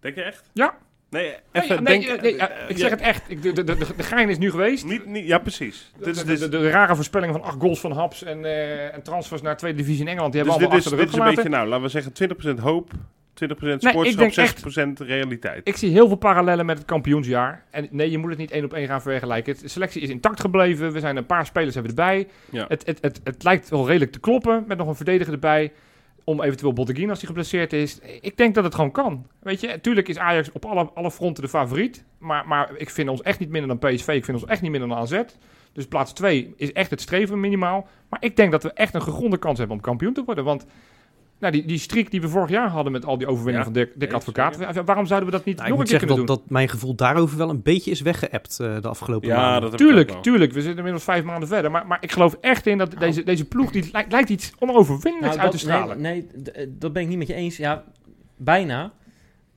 S5: Denk je echt?
S4: Ja.
S5: Nee,
S4: Nee,
S5: even
S4: nee,
S5: denk...
S4: eh, nee, eh, ik zeg het echt. Ik, de, de, de, de gein is nu geweest.
S5: Niet, niet, ja, precies.
S4: De,
S5: Dit is, dus-
S4: de,
S5: dit is,
S4: de- de rare voorspelling van acht goals van Haps en, eh, en transfers naar tweede divisie in Engeland. Die
S5: dus
S4: hebben we
S5: dit is,
S4: allemaal
S5: dit is
S4: achter de
S5: een
S4: rug
S5: beetje, nou,
S4: gelaten.
S5: laten we zeggen 20% hoop, 20%
S4: ik denk echt-
S5: sportschap, 60% realiteit.
S4: Ik zie heel veel parallellen met het kampioensjaar. En nee, je moet het niet één op één gaan vergelijken. Het- De selectie is intact gebleven. We zijn een paar spelers hebben erbij.
S5: Ja.
S4: Het, het, het, het lijkt wel redelijk te kloppen met nog een verdediger erbij. Om eventueel Botteguin als hij geblesseerd is. Ik denk dat het gewoon kan. Weet je, tuurlijk is Ajax op alle, alle fronten de favoriet. Maar, maar ik vind ons echt niet minder dan PSV. Ik vind ons echt niet minder dan AZ. Dus plaats 2 is echt het streven minimaal. Maar ik denk dat we echt een gegronde kans hebben om kampioen te worden. Want nou, die, die streak die we vorig jaar hadden met al die overwinningen
S5: Ja,
S4: van Dirk, Dirk
S5: nee,
S4: Advocaat. wa- Waarom zouden we dat niet
S2: Nou, ik
S4: nog een
S2: moet zeggen
S4: keer kunnen
S2: dat,
S4: doen?
S2: dat mijn gevoel daarover wel een beetje is weggeëpt eh, de afgelopen
S5: Ja,
S2: maanden.
S5: dat heb ik
S4: Tuurlijk,
S5: ook wel.
S4: tuurlijk. We zitten inmiddels vijf maanden verder. Maar, maar ik geloof echt in
S2: Nou.
S4: dat deze, deze ploeg die lijkt, lijkt iets onoverwinnelijks uit te
S3: Nou, dat-
S4: stralen.
S3: Nee, nee, d- eh, dat ben ik niet met je eens. Ja, bijna.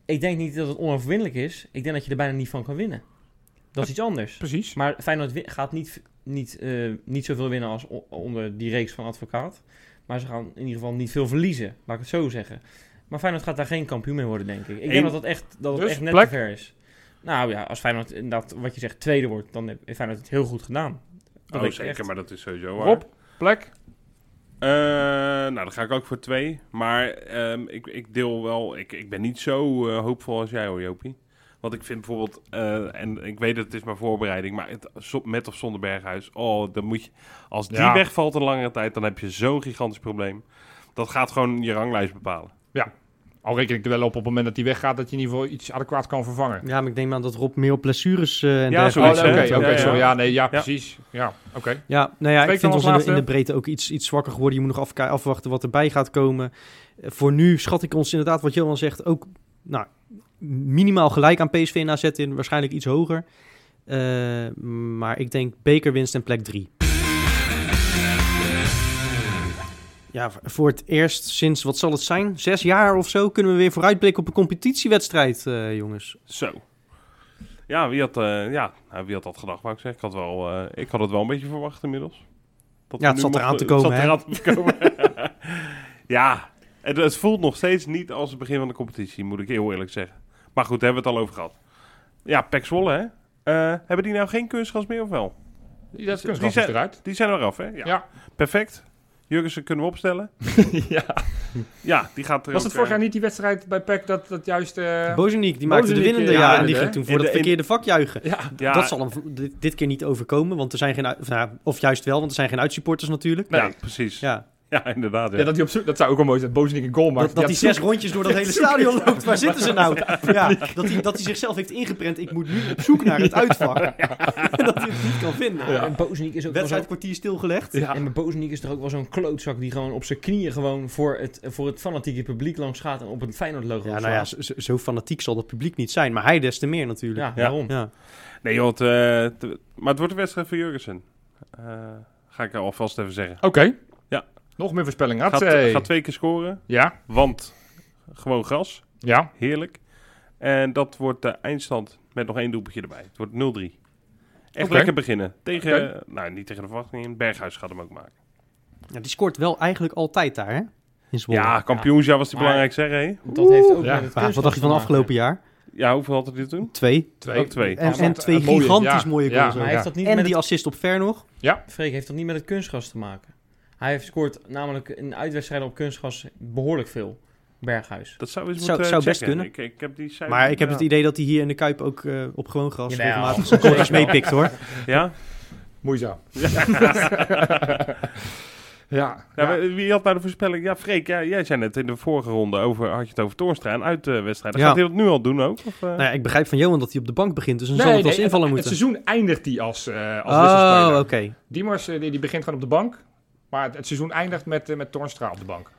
S3: Ik denk niet dat het onoverwinnelijk is. Ik denk dat je er bijna niet van kan winnen. Dat is iets anders.
S4: Precies.
S3: Maar Feyenoord wi- gaat niet, niet, eh, niet zoveel winnen als o- onder die reeks van advocaat. Maar ze gaan in ieder geval niet veel verliezen, laat ik het zo zeggen. Maar Feyenoord gaat daar geen kampioen mee worden, denk ik. Ik
S5: Eén-
S3: denk dat dat echt, dat het
S4: Dus
S3: echt net
S4: plek?
S3: te ver is. Nou ja, als Feyenoord inderdaad, wat je zegt, tweede wordt, dan heeft Feyenoord het heel goed gedaan. Dat
S5: Oh,
S3: denk ik
S5: zeker,
S3: echt.
S5: maar dat is sowieso waar.
S4: Rob, plek.
S5: Eh, nou, dan ga ik ook voor twee. Maar ehm, ik, ik deel wel... Ik, ik ben niet zo eh, hoopvol als jij hoor, Jopie. Want ik vind bijvoorbeeld... eh, en ik weet dat het is maar voorbereiding. Maar het, zo- met of zonder Berghuis... Oh, dan moet je... Als die
S4: Ja.
S5: wegvalt een langere tijd... Dan heb je zo'n gigantisch probleem. Dat gaat gewoon je ranglijst bepalen.
S4: Al reken ik er wel op op het moment dat hij weggaat, dat je in ieder geval iets adequaats kan vervangen.
S2: Ja, maar ik denk maar dat Rob meer op blessures eh en
S5: Ja,
S4: Oh, nee,
S5: zoiets,
S2: dergelijke
S4: Oké,
S5: hè?
S2: komt
S4: oké,
S2: dan.
S5: Ja, ja.
S4: sorry. Ja, nee, ja,
S5: Ja.
S4: precies. Ja, oké.
S2: Ja, nou ja,
S4: Twee
S2: ik vind
S4: keer
S2: ons
S4: als
S2: in de, in de
S4: laatste.
S2: breedte ook iets, iets zwakker geworden. Je moet nog afka- afwachten wat erbij gaat komen. Eh, Voor nu schat ik ons inderdaad, wat Johan zegt, ook nou, minimaal gelijk aan PSV en AZ in. Waarschijnlijk iets hoger. Eh, maar ik denk bekerwinst en plek 3. Ja, v- voor het eerst sinds, wat zal het zijn? Zes jaar of zo kunnen we weer vooruitblikken op een competitiewedstrijd, eh, jongens.
S5: Zo. Ja, wie had, eh, ja, nou, wie had dat gedacht, wou ik zeggen. Ik had, wel, eh, ik had het wel een beetje verwacht inmiddels. Dat we
S2: Ja, het
S5: nu
S2: zat eraan
S5: mochten-
S2: te komen,
S5: het
S2: hè?
S5: zat eraan te komen. ja, het, het voelt nog steeds niet als het begin van de competitie, moet ik heel eerlijk zeggen. Maar goed, daar hebben we het al over gehad. Ja, Pek Zwolle, hè? Eh, hebben die nou geen kunstgras meer of wel?
S4: Die- Dat kunstgras
S5: die
S4: is
S5: zijn-
S4: eruit.
S5: Die zijn er af, hè?
S4: Ja.
S5: Perfect. Jurgensen kunnen we opstellen.
S4: ja.
S5: Ja, die gaat er
S4: Was
S5: ook,
S4: het vorig
S5: eh,
S4: jaar niet die wedstrijd bij PEC dat, dat juist... eh,
S2: Bozeniek, die maakte de
S4: Bozeniek,
S2: winnende,
S4: ja,
S2: ja, en die
S4: inderdaad,
S2: ging toen
S5: In
S2: voor
S5: de-
S2: dat
S5: in-
S2: verkeerde vak juichen.
S4: ja,
S5: ja,
S2: Dat zal hem v- dit, dit keer niet overkomen, want er zijn geen, uit- of, nou, of juist wel, want er zijn geen uitsupporters natuurlijk.
S5: ja, precies. Ja,
S2: Ja.
S5: inderdaad. Ja.
S4: ja, dat, die op zoek, dat zou ook wel mooi zijn. Bozenik een goal maakt.
S2: Dat, dat die
S4: aan
S2: zes
S4: het
S2: rondjes door dat hele stadion loopt, waar zitten ze nou? Ja, dat hij dat hij zichzelf heeft ingeprent, ik moet nu op zoek naar het uitvak. En dat hij het niet kan vinden.
S3: En Bozeniek is ook wel zo-
S2: Wedstrijd kwartier stilgelegd.
S4: zoeken- Ja.
S3: En mijn Bozeniek is er ook wel zo'n klootzak die gewoon op zijn knieën gewoon voor het, voor het fanatieke publiek langs gaat en op een Feyenoord logo
S2: Ja, nou ja, zo, zo- zo fanatiek zal dat publiek niet zijn, maar hij des te meer natuurlijk.
S3: ja,
S5: Ja.
S3: daarom.
S2: Ja.
S5: Nee, joh, het, eh, te- maar het wordt de wedstrijd van Jurgensen. Eh, ga ik alvast even zeggen.
S4: Oké.
S5: Ja.
S4: Nog meer voorspelling.
S5: Gaat, eh,
S4: Hatzee.
S5: gaat twee keer scoren,
S4: Ja,
S5: want gewoon gras.
S4: ja.
S5: Heerlijk. En dat wordt de eindstand met nog één doelpuntje erbij. Het wordt 0-3. Echt
S4: Oké.
S5: lekker beginnen. Tegen, nou niet tegen de verwachting in. Berghuis gaat hem ook maken.
S2: Ja, die scoort wel eigenlijk altijd daar, hè? In Zwolle.
S5: Ja, kampioensjaar was het
S3: Maar-
S5: belangrijkste, hè? Hey?
S3: Dat heeft ook
S4: Ja.
S3: met het
S2: Maar wat dacht je van afgelopen jaar?
S5: Ja, hoeveel had hij dit toen?
S2: Twee.
S5: Ook twee.
S2: En, en
S4: Afstand,
S2: twee
S4: eh, mooie,
S2: gigantisch
S4: ja,
S2: mooie
S4: ja.
S2: goals.
S3: Maar
S2: ook.
S3: heeft dat niet
S2: En
S3: met
S2: die
S3: het,
S2: assist op Ver nog.
S3: Freek, heeft dat niet met het kunstgas te maken? Hij heeft scoort namelijk in uitwedstrijden op kunstgas behoorlijk veel. Berghuis.
S5: Dat zou, eens
S2: Zou-
S5: moeten
S2: zou best
S5: checken.
S2: kunnen.
S5: Ik, ik heb die eh, cijfers-
S2: Maar ik heb
S5: ja.
S2: het idee dat hij hier in de Kuip ook eh, op gewoon gras
S3: Jawel.
S2: regelmatig zijn corners meepikt, hoor.
S5: Ja?
S4: Moeizaam. Ja. ja.
S5: Ja, maar Wie had nou de voorspelling? Ja, Freek, ja, jij zei net in de vorige ronde over, had je het over Toornstra en uit de wedstrijd.
S2: Ja.
S5: Gaat hij dat nu al doen ook? Of, eh?
S2: Nou ja, ik begrijp van Johan dat hij op de bank begint, dus dan zal het als
S4: nee,
S2: invaller
S4: het-
S2: moeten.
S4: Het seizoen eindigt die als, eh als
S2: oh, oké.
S4: wisselspeler. Diemers eh, die, die begint gewoon op de bank. Maar het, het seizoen eindigt met, eh, met Tornstra op de bank.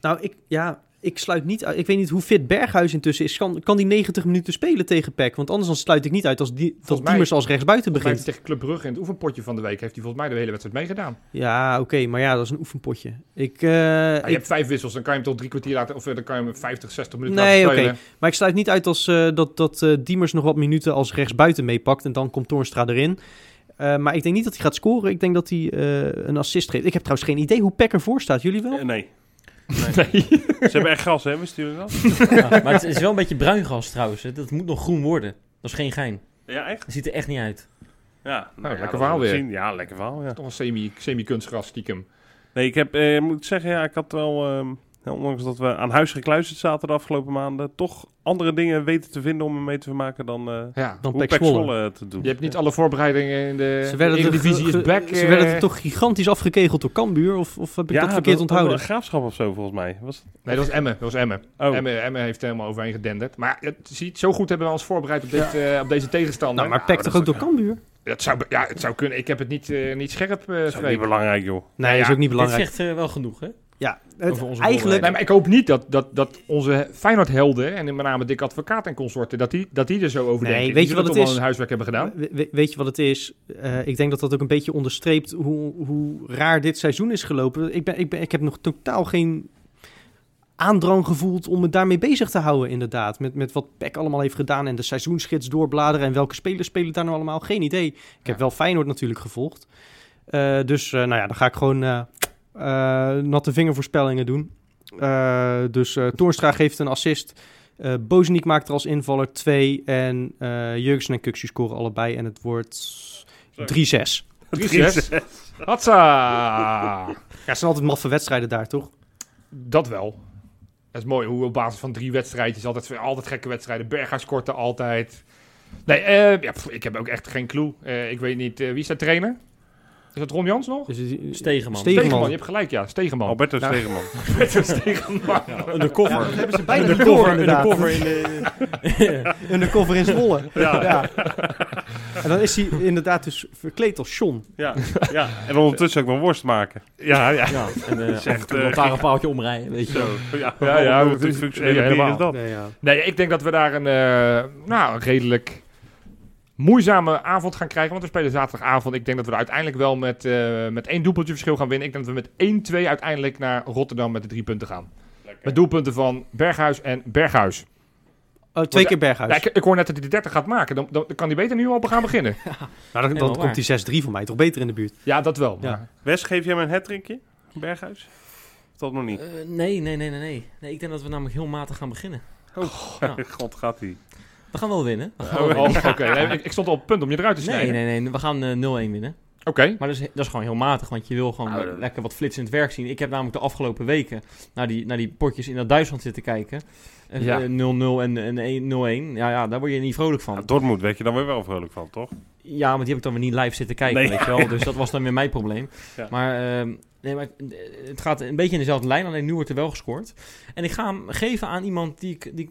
S2: Nou, ik, ja, ik sluit niet uit. Ik weet niet hoe fit Berghuis intussen is. Kan, kan die 90 minuten spelen tegen PEC? Want anders dan sluit ik niet uit als die, dat
S4: mij-
S2: Diemers als rechtsbuiten
S4: Volgens mij heeft
S2: begint.
S4: hij tegen Club Brugge in het oefenpotje van de week... heeft hij volgens mij de hele wedstrijd meegedaan.
S2: Ja, oké, maar ja, dat is een oefenpotje. Ik, eh,
S4: Ja,
S2: ik-
S4: Ah, je hebt vijf wissels, dan kan je hem tot drie kwartier laten... of eh, dan kan je hem 50, 60 minuten
S2: Nee,
S4: laten spelen.
S2: Maar ik sluit niet uit als, eh, dat, dat eh, Diemers nog wat minuten als rechtsbuiten meepakt. En dan komt Toornstra erin. Eh, maar ik denk niet dat hij gaat scoren. Ik denk dat hij eh, een assist geeft. Ik heb trouwens geen idee hoe Peck ervoor staat. Jullie wel?
S5: Eh, nee. Ze hebben echt gas, hè? We sturen dat.
S3: Ja, maar het is wel een beetje bruin gas trouwens. hè. Dat moet nog groen worden. Dat is geen gein.
S5: Ja, echt?
S3: Dat ziet er echt niet uit.
S5: Ja. Nou, ja,
S4: lekker
S5: dat
S4: verhaal
S5: zullen we
S4: weer.
S5: zien. Ja, lekker verhaal, ja.
S4: Toch een semi, semi-kunstgras stiekem.
S5: Nee, ik heb, eh, moet ik zeggen, ja, ik had wel, ehm, ja, ondanks dat we aan huis gekluisterd zaten de afgelopen maanden, toch andere dingen weten te vinden om me mee te vermaken dan, eh
S4: Ja.
S2: dan
S5: hoe
S2: Pek
S5: Pek
S2: Zwolle.
S5: Zwolle eh, te doen.
S4: Je hebt niet alle voorbereidingen in de,
S2: Ze werden,
S4: de
S2: er,
S4: divisie
S2: ge-
S4: is back.
S2: ge- ze werden
S4: eh.
S2: er toch gigantisch afgekegeld door Cambuur? Of, of heb ik dat verkeerd onthouden?
S5: Een graafschap of zo, volgens mij. Was het-
S4: Nee, dat was Emmen. Dat was Emmen.
S5: Oh.
S4: Emmen, Emmen heeft er helemaal overheen gedenderd. Maar het, ziet, zo goed hebben we ons voorbereid op, dit, eh, op deze tegenstander.
S2: nou, maar Peck Nou, toch ook door Cambuur?
S4: Dat zou, be- ja, het zou kunnen. Ik heb het niet, eh, niet scherp eh
S5: Dat is ook niet
S4: Freek.
S5: belangrijk, joh.
S2: Nee, is
S4: ja,
S2: ook niet
S3: Dit
S2: belangrijk.
S3: zegt eh, wel genoeg, hè?
S2: Ja,
S3: over
S2: het,
S3: onze
S2: eigenlijk...
S4: Nee, maar ik hoop niet dat, dat, dat onze Feyenoord-helden, en met name Dick Advocaat en consorten, dat die, dat die er zo over
S2: Nee,
S4: denken. Die
S2: weet je
S4: zullen
S2: wat
S4: toch
S2: het
S4: wel hun huiswerk hebben gedaan.
S2: We- we- weet je wat het is? Eh, ik denk dat dat ook een beetje onderstreept hoe, hoe raar dit seizoen is gelopen. Ik, ben, ik, ben, ik heb nog totaal geen aandrang gevoeld om me daarmee bezig te houden, inderdaad. Met, met wat Peck allemaal heeft gedaan en de seizoensgids doorbladeren... en welke spelers spelen daar nou allemaal? Geen idee. Ik heb
S4: Ja.
S2: wel Feyenoord natuurlijk gevolgd. Eh, dus eh, nou ja, dan ga ik gewoon eh eh, natte vingervoorspellingen doen. Eh, dus eh Toornstra geeft een assist... Eh Bozeniek maakt er als invaller 2. En eh Jurgensen en Kuxu scoren allebei. En het wordt 3-6.
S4: Dries, hè? Hatsa!
S2: Ja, het zijn altijd maffe wedstrijden daar, toch?
S4: Dat wel. Dat is mooi, hoe op basis van drie wedstrijdjes altijd, altijd gekke wedstrijden. Berghuis korte altijd. Nee, eh, ja, pff, ik heb ook echt geen clue. Eh, ik weet niet, eh, wie is daar trainer? Is dat Ron Jans nog?
S2: Dus, het-
S3: Stegenman.
S2: Stegenman.
S4: je hebt gelijk, ja. Stegenman.
S5: Alberto
S4: Nou.
S5: Stegeman.
S4: Alberto Stegenman.
S3: Undercover.
S2: dat hebben ze bijna
S3: de
S2: gekocht,
S3: cover,
S2: inderdaad.
S3: undercover in de...
S2: Undercover in Zwolle.
S5: Ja.
S2: Ja. En dan is hij inderdaad dus verkleed als John.
S5: Ja, ja. En ondertussen ook nog worst maken.
S4: Ja, ja.
S3: Ja, en eh, af en
S5: echt,
S3: toe
S5: eh,
S3: een lantaarnpaaltje omrijden, weet je.
S5: Zo. Ja,
S4: Ja, ja,
S5: hoe
S4: het is-
S5: functionele
S4: ja,
S5: bier
S4: helemaal.
S5: is dat?
S2: Nee, ja.
S4: Nee, ik denk dat we daar een eh, nou, een redelijk moeizame avond gaan krijgen. Want we spelen zaterdagavond. Ik denk dat we er uiteindelijk wel met, eh, met één doelpuntje verschil gaan winnen. Ik denk dat we met 1-2 uiteindelijk naar Rotterdam met de drie punten gaan. Met doelpunten van Berghuis en Berghuis.
S2: Oh, twee keer Berghuis.
S4: Ja, ik, ik hoor net dat hij de 30 gaat maken. Dan, dan, dan kan hij beter nu al gaan beginnen.
S2: nou, dan,
S3: helemaal
S2: dan komt die 6-3 van mij toch beter in de buurt.
S4: Ja, dat wel.
S2: Ja.
S4: maar-
S5: Wes, geef jij me een hattrickje? Berghuis? Of Dat nog niet.
S3: Eh, nee, nee, nee, nee, nee. Nee, ik denk dat we namelijk heel matig gaan beginnen. ja.
S5: God, gaat hij.
S3: We gaan wel winnen. We gaan wel
S4: Oh,
S3: winnen.
S4: Oké, nee, ik, ik stond al op het punt om je eruit te
S3: Nee,
S4: snijden.
S3: nee, nee. We gaan eh, 0-1 winnen.
S4: Oké.
S3: Maar dat is, dat is gewoon heel matig, want je wil gewoon
S5: Nou,
S3: eh,
S5: dat-
S3: lekker wat flitsend werk zien. Ik heb namelijk de afgelopen weken naar die, naar die potjes in dat Duitsland zitten kijken. Eh,
S4: Ja.
S3: eh, 0-0 en, en 1 0-1. Ja, ja, daar word je niet vrolijk
S5: Ja,
S3: van.
S5: Dortmund werd je dan weer wel vrolijk van, toch?
S3: Ja, maar die heb ik dan weer niet live zitten kijken,
S5: Nee.
S3: weet je wel. Dus dat was dan weer mijn probleem.
S5: Ja.
S3: Maar, ehm, nee, maar eh, het gaat een beetje in dezelfde lijn, alleen nu wordt er wel gescoord. En ik ga hem geven aan iemand die ik, die ik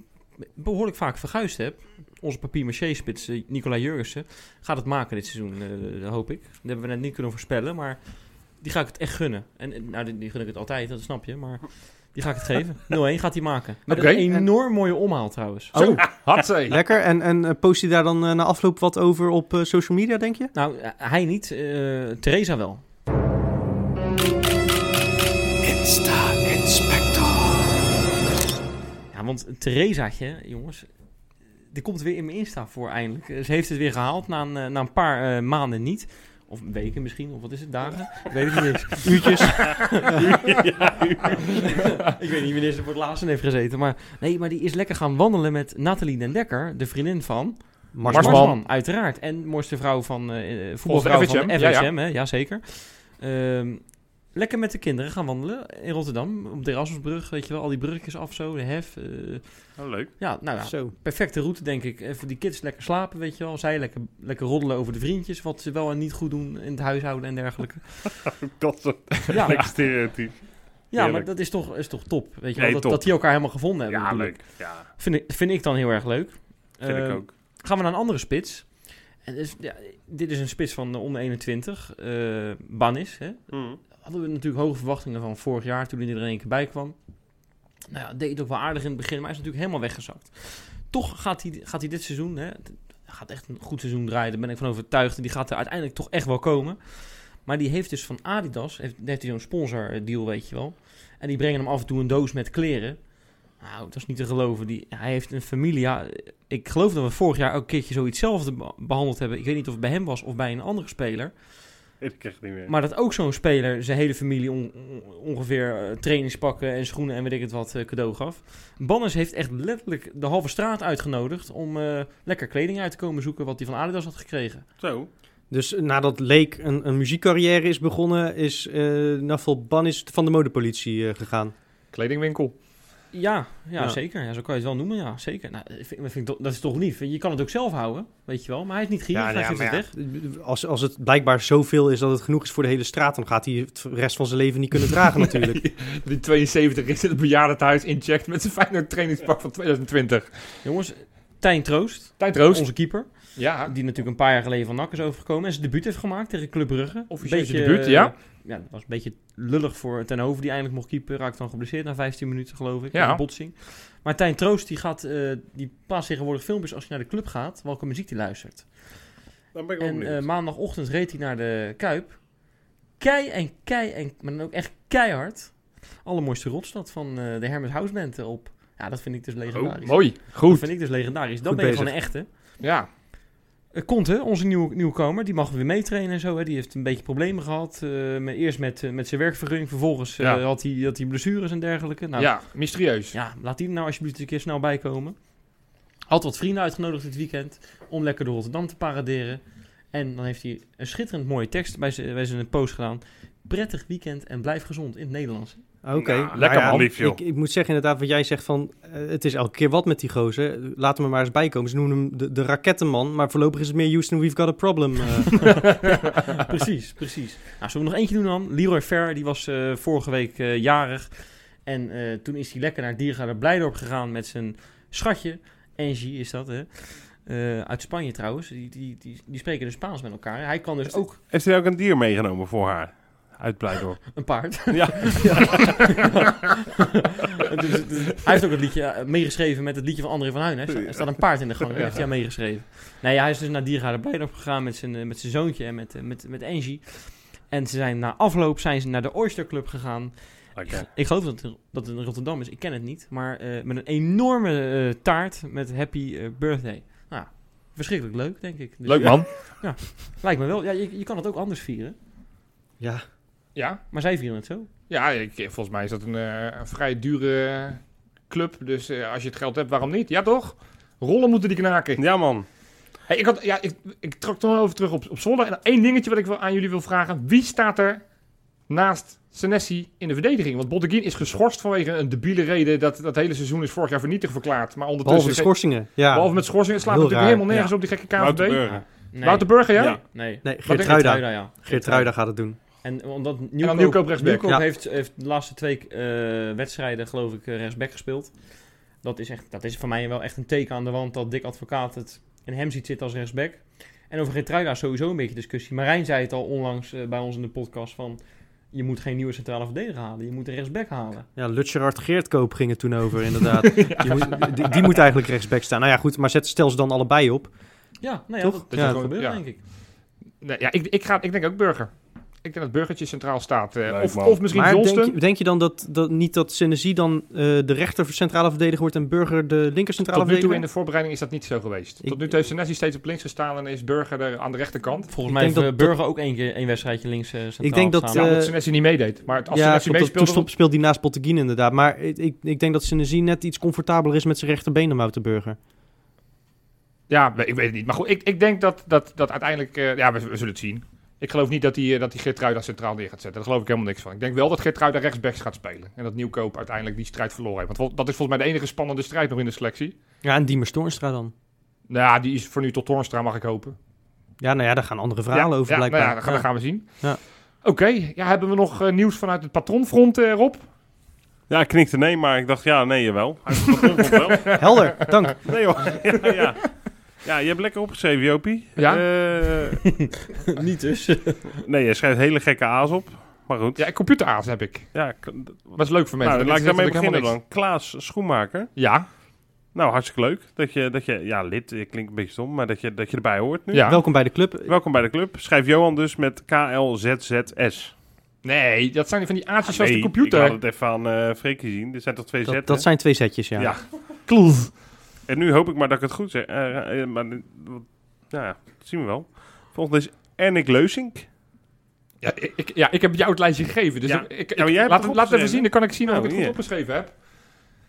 S3: behoorlijk vaak verguisd heb. Onze papier-maché-spits, eh, Nicola Jurgensen, gaat het maken dit seizoen, eh, dat hoop ik. Dat hebben we net niet kunnen voorspellen, maar die ga ik het echt gunnen. En eh, nou, die, die gun ik het altijd, dat snap je, maar... Die ga ik het geven. 0-1 gaat hij maken. Met
S4: Oké.
S3: een enorm mooie omhaal trouwens.
S2: Oh,
S4: Hatsé.
S2: lekker. En, en eh, post hij daar dan eh, na afloop wat over op eh, social media, denk je?
S3: Nou, eh, hij niet. eh Theresa wel. Ja, want Theresaatje, jongens, die komt weer in mijn Insta voor eindelijk. Eh, Ze heeft het weer gehaald na een, eh, na een paar eh, maanden niet. Of weken misschien, of wat is het, dagen? Ik weet het niet eens. Uurtjes. ik weet niet wanneer ze voor het laatst in heeft gezeten. Maar nee, maar die is lekker gaan wandelen met Nathalie Den Dekker, de vriendin van...
S4: Marsman.
S3: Marsman, uiteraard. En mooiste vrouw van eh, eh, voetbalvrouw
S4: Volgens de
S3: van
S4: FHM,
S3: FHM,
S4: ja,
S3: ja, Hè? ja zeker. Ehm, lekker met de kinderen gaan wandelen in Rotterdam. Op de Erasmusbrug, weet je wel, al die bruggetjes af zo, de hef. eh,
S5: Nou, leuk.
S3: ja, nou ja,
S2: Zo.
S3: perfecte route denk ik. Even die kids lekker slapen, weet je wel. Zij lekker, lekker roddelen over de vriendjes, wat ze wel en niet goed doen in het huishouden en dergelijke.
S5: Dat is
S3: ja,
S5: een stereotype.
S3: ja, maar
S5: heerlijk.
S3: dat is toch, is toch top, weet je wel.
S5: Nee,
S3: dat,
S5: top.
S3: dat die elkaar helemaal gevonden hebben.
S5: Ja,
S3: bedoel ik.
S5: leuk. Ja,
S3: Vind ik, vind ik dan heel erg leuk.
S5: vind ik
S3: Ehm,
S5: ook.
S3: Gaan we naar een andere spits. En dus, ja, dit is een spits van de onder 21. eh Banis. Hè?
S5: Hm.
S3: Hadden we natuurlijk hoge verwachtingen van vorig jaar toen hij er in één keer bij kwam. Nou ja, deed het ook wel aardig in het begin, maar hij is natuurlijk helemaal weggezakt. Toch gaat hij, gaat hij dit seizoen, hè, het gaat echt een goed seizoen draaien, daar ben ik van overtuigd. En die gaat er uiteindelijk toch echt wel komen. Maar die heeft dus van Adidas, heeft, heeft hij zo'n sponsordeal, weet je wel. En die brengen hem af en toe een doos met kleren. Nou, dat is niet te geloven. Die, hij heeft een familia. Ik geloof dat we vorig jaar ook een keertje zoietszelfde be- behandeld hebben. Ik weet niet of het bij hem was of bij een andere speler.
S5: Ik krijg het niet meer.
S3: Maar dat ook zo'n speler zijn hele familie on- on- ongeveer eh, trainingspakken en schoenen en weet ik het wat eh, cadeau gaf. Banners heeft echt letterlijk de halve straat uitgenodigd om eh, lekker kleding uit te komen zoeken wat hij van Adidas had gekregen.
S5: Zo.
S2: Dus eh, nadat Leek een, een muziekcarrière is begonnen, is eh Nafel Banis van de modepolitie eh, gegaan.
S4: Kledingwinkel.
S3: Ja, ja,
S2: Ja.
S3: zeker. Ja, zo kan je het wel noemen, ja, zeker. Nou, ik vind, ik vind dat, dat is toch lief. Je kan het ook zelf houden, weet je wel. Maar hij is niet gierig, hij geeft het weg.
S2: Als, als het blijkbaar zoveel is dat het genoeg is voor de hele straat, dan gaat hij het rest van zijn leven niet kunnen dragen natuurlijk.
S4: Die 72 is in het bejaardentehuis incheckt met zijn Feyenoord trainingspak van 2020.
S3: Jongens, Tijn Troost,
S4: Tijd Roos.
S3: onze keeper.
S4: Ja,
S3: Die natuurlijk een paar jaar geleden van NAC is overgekomen. En zijn debuut heeft gemaakt tegen Club Brugge.
S4: Officieel
S3: Beetje,
S4: zijn debuut,
S3: eh,
S4: ja.
S3: Ja, dat was een beetje lullig voor Ten Hove die eindelijk mocht keeper. Raakt dan geblesseerd na 15 minuten, geloof ik.
S4: Ja.
S3: Ja. Een botsing. Maar Tijn Troost, die, gaat, eh, die plaatst tegenwoordig filmpjes als je naar de club gaat, welke muziek die luistert.
S5: Dan ben ik ook
S3: En eh,
S5: benieuwd.
S3: maandagochtend reed hij naar de Kuip. Kei en kei en... Maar dan ook echt keihard. Allermooiste rotstad van eh, de Hermes House Band op. Ja, dat vind ik dus
S4: Oh,
S3: legendarisch.
S4: mooi.
S3: dat
S4: Goed.
S3: vind ik dus legendarisch. Dat
S2: Goed
S3: ben je
S2: bezig.
S3: gewoon een echte.
S4: Ja.
S3: Eh, Conte, onze nieuw, nieuwkomer, die mag weer meetrainen en zo. Hè. Die heeft een beetje problemen gehad. eh, met- eerst met, eh, met zijn werkvergunning, vervolgens eh,
S4: Ja.
S3: had, hij, had hij blessures en dergelijke. Nou, ja.
S4: ja, mysterieus.
S3: laat die er nou alsjeblieft een keer snel bij komen. Had wat vrienden uitgenodigd dit weekend om lekker door Rotterdam te paraderen. En dan heeft hij een schitterend mooie tekst bij zijn, bij zijn post gedaan. Prettig weekend en blijf gezond in het Nederlands.
S2: Oké.
S5: Nou, lekker man, lief, joh.
S2: ik, ik moet zeggen inderdaad wat jij zegt van... eh, het is elke keer wat met die gozer. Laat hem er maar eens bij komen. Ze noemen hem de, de rakettenman. Maar voorlopig is het meer Houston, we've got a problem. eh.
S3: precies, precies. Nou, zullen we nog eentje doen dan? Leroy Fer, die was eh, vorige week eh, jarig. En eh, toen is hij lekker naar Diergaarder Blijdorp gegaan met zijn schatje. Angie is dat, hè? Eh, uit Spanje trouwens. Die, die, die, die spreken dus Spaans met elkaar. Hij kan dus ook
S5: Heeft hij ook een dier meegenomen voor haar? Uit Blijdorp.
S3: een paard.
S5: Ja.
S3: Dus het- dus hij heeft ook het liedje eh, meegeschreven met het liedje van André van Huyn. hè. Er staat- Er staat een paard in de gang, dat heeft hij meegeschreven. Nee, hij is dus naar Diergaarder Blijdorp gegaan met zijn, eh, met zijn zoontje en met, eh, met, met Angie. En ze zijn na afloop zijn ze naar de Oyster Club gegaan.
S5: Lekker.
S3: Ik geloof dat het, dat het in Rotterdam is, ik ken het niet. Maar eh, met een enorme eh, taart met Happy eh, Birthday. Nou, ja, verschrikkelijk leuk, denk ik. Dus
S4: Leuk man.
S3: Lijkt me wel. Ja, je, je kan het ook anders vieren.
S2: ja,
S4: Ja,
S3: Maar zij vieren het zo.
S4: ja ik, volgens mij is dat een, eh, een vrij dure eh, club. Dus eh, als je het geld hebt, waarom niet? Ja, toch? Rollen moeten die knaken.
S5: Ja, man.
S4: Hey, ik, had, ja, ik, ik trok toch wel over terug op, op zondag. En één dingetje wat ik wel aan jullie wil vragen. Wie staat er naast Senesi in de verdediging? Want Botteguin is geschorst vanwege een debiele reden. Dat dat hele seizoen is vorig jaar voor nietig verklaard. Maar
S2: behalve
S4: ondertussen...
S2: de schorsingen. Ja.
S4: behalve met schorsing. Het slaat
S2: Heel
S4: natuurlijk
S2: raar,
S4: helemaal nergens op die gekke KVB.
S5: Wouter
S4: Wouter Burger,
S5: Burger.
S4: ja?
S3: Nee.
S5: Ja.
S3: Nee.
S2: Nee,
S4: denk je,
S2: Geertruida.
S3: Truida, ja.
S2: Geertruida gaat het doen.
S3: En omdat Nieuwkoop,
S4: Nieuwkoop rechtsback.
S2: Ja.
S3: heeft, heeft de laatste twee eh, wedstrijden, geloof ik, eh, rechtsback gespeeld. Dat is, echt, dat is voor mij wel echt een teken aan de wand dat Dick Advocaat het in hem ziet zitten als rechtsback. En over Getruida is sowieso een beetje discussie. Marijn zei het al onlangs eh, bij ons in de podcast van... Je moet geen nieuwe centrale verdediger halen. Je moet een rechtsback halen.
S2: Ja, Lutgerard Geertkoop ging het toen over inderdaad. die, moet, die, die moet eigenlijk rechtsback staan. Nou ja, goed. Maar zet, stel ze dan allebei op.
S3: Ja, nou ja
S2: Toch?
S3: dat,
S4: Dat
S3: dat
S4: je
S3: gaat
S4: gewoon-
S3: gebeuren,
S4: ja.
S3: denk ik.
S4: Nee, ja, ik, ik, ga, ik denk ook Burger. Ik denk dat Burgertje centraal staat. eh,
S5: Leuk,
S4: of,
S5: man.
S4: of misschien
S2: maar
S4: Johnston.
S2: Denk, je, denk je dan dat, dat niet dat Senesi dan eh, de rechter centrale verdediger wordt en Burger de linker centrale
S4: Tot nu toe
S2: verdediger?
S4: in de voorbereiding is dat niet zo geweest.
S2: Ik-
S4: Tot nu toe heeft Senesi steeds op links gestaan en is Burger er aan de rechterkant.
S3: Volgens
S2: Ik
S3: mij
S2: denk
S3: heeft eh,
S2: dat- dat-
S3: Burger ook één keer één wedstrijdje links eh, centraal
S2: Ik denk dat,
S3: staan.
S4: Ja,
S2: eh,
S4: omdat Senesi niet meedeed. Maar als
S2: ja, klopt,
S4: Senesi
S2: dat- toen
S4: meespeelde...
S2: stond- speelde hij naast Botteguin inderdaad. Maar ik, ik, ik denk dat Senesi net iets comfortabeler is met zijn rechterbeen dan Wouterburger.
S4: Ja, we- ik weet het niet. Maar goed, ik, ik denk dat, dat, dat uiteindelijk... eh, ja, we, we zullen het zien. Ik geloof niet dat die, eh, dat die Geertruida centraal neer gaat zetten. Daar geloof ik helemaal niks van. Ik denk wel dat Geertruida rechtsbacks gaat spelen. En dat Nieuwkoop uiteindelijk die strijd verloren heeft. Want vol- dat is volgens mij de enige spannende strijd nog in de selectie.
S2: Ja, en Diemer Stornstra dan.
S4: Nou ja, die is voor nu tot Toornstra, mag ik hopen.
S2: Ja, nou ja, daar gaan andere verhalen
S4: ja,
S2: over
S4: ja,
S2: blijkbaar.
S4: nou ja, dat gaan, dat gaan we zien.
S2: Ja.
S4: Oké, ja, hebben we nog eh, nieuws vanuit het patronfront, eh, Rob?
S5: Ja, ik knikte nee, maar ik dacht ja, nee, jawel. Hij vond het wel.
S2: Helder, dank.
S5: Nee hoor. Ja, ja. ja, je hebt lekker opgeschreven, Jopie.
S4: Ja.
S5: Eh,
S3: Niet dus.
S5: nee, je schrijft hele gekke a's op. Maar goed.
S4: Ja, computeraars heb ik.
S5: Ja, k- d-
S4: Dat is leuk voor
S5: nou, dan
S4: mensen. want
S5: laat ik daarmee
S4: weten
S5: beginnen
S4: natuurlijk
S5: dan. Klaas Schoenmaker.
S4: helemaal niks.
S5: Nou, hartstikke leuk dat je, dat je ja, lid, eh, klinkt een beetje stom, maar dat je, dat je erbij hoort nu.
S4: Ja, ja.
S2: Welkom bij de club.
S5: Welkom bij de club. Schrijf Johan dus met KLZZS.
S4: Nee, dat zijn van die aardjes zoals
S5: Ah, Nee,
S4: de computer.
S5: Ik had het even aan eh Freekie zien. Er zijn toch twee zetten?
S2: Dat, dat zijn twee setjes, ja.
S5: Ja. En nu hoop ik maar dat ik het goed zeg. Eh, eh, maar, eh, ja, dat zien we wel. Volgende is Ernik Leusink.
S4: Ja ik, ja, ik heb jou het lijstje gegeven. Dus
S5: Ja.
S4: ik, ik,
S5: Ja, maar jij hebt
S4: laat,
S5: het
S4: het, laat het even
S5: opgeschreven.
S4: zien. Dan kan ik zien of
S5: Nou,
S4: ik het goed
S5: hier.
S4: opgeschreven heb.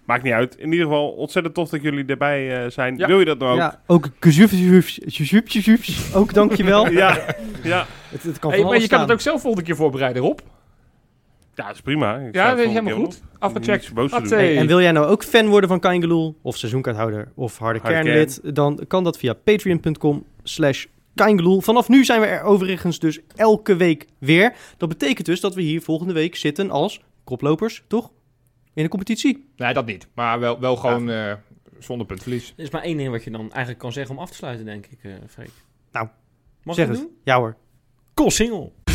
S5: Maakt niet uit. In ieder geval ontzettend tof dat jullie erbij eh, zijn.
S4: Ja.
S5: Wil je dat nou ook?
S2: Ja, ook gezuufs- gezuufs- gezuufs. ook dankjewel.
S5: ja. ja.
S2: Het, het kan van
S4: Hey, maar je
S2: alles
S4: kan
S2: staan.
S4: het ook zelf volgende keer voorbereiden, Rob.
S5: Ja, dat is prima. Ik sta
S4: Ja,
S5: het
S4: dat is
S5: volgende
S4: helemaal
S5: keer
S4: goed. Afgecheckt.
S5: Niets boos te doen.
S4: Hatsé.
S2: En wil jij nou ook fan worden van Kaingeloel, of seizoenkaarthouder, of harde
S5: Harde
S2: kernlid, dan kan dat via patreon.com slash Kaingeloel. Vanaf nu zijn we er overigens dus elke week weer. Dat betekent dus dat we hier volgende week zitten als koplopers, toch? In de competitie.
S4: Nee, dat niet. Maar wel, wel gewoon eh, zonder puntverlies.
S3: Er is maar één ding wat je dan eigenlijk kan zeggen om af te sluiten, denk ik, eh Freek.
S2: Nou,
S3: Mag
S2: zeg
S3: ik
S2: het.
S3: het doen?
S2: Ja hoor.
S3: Koolsingel.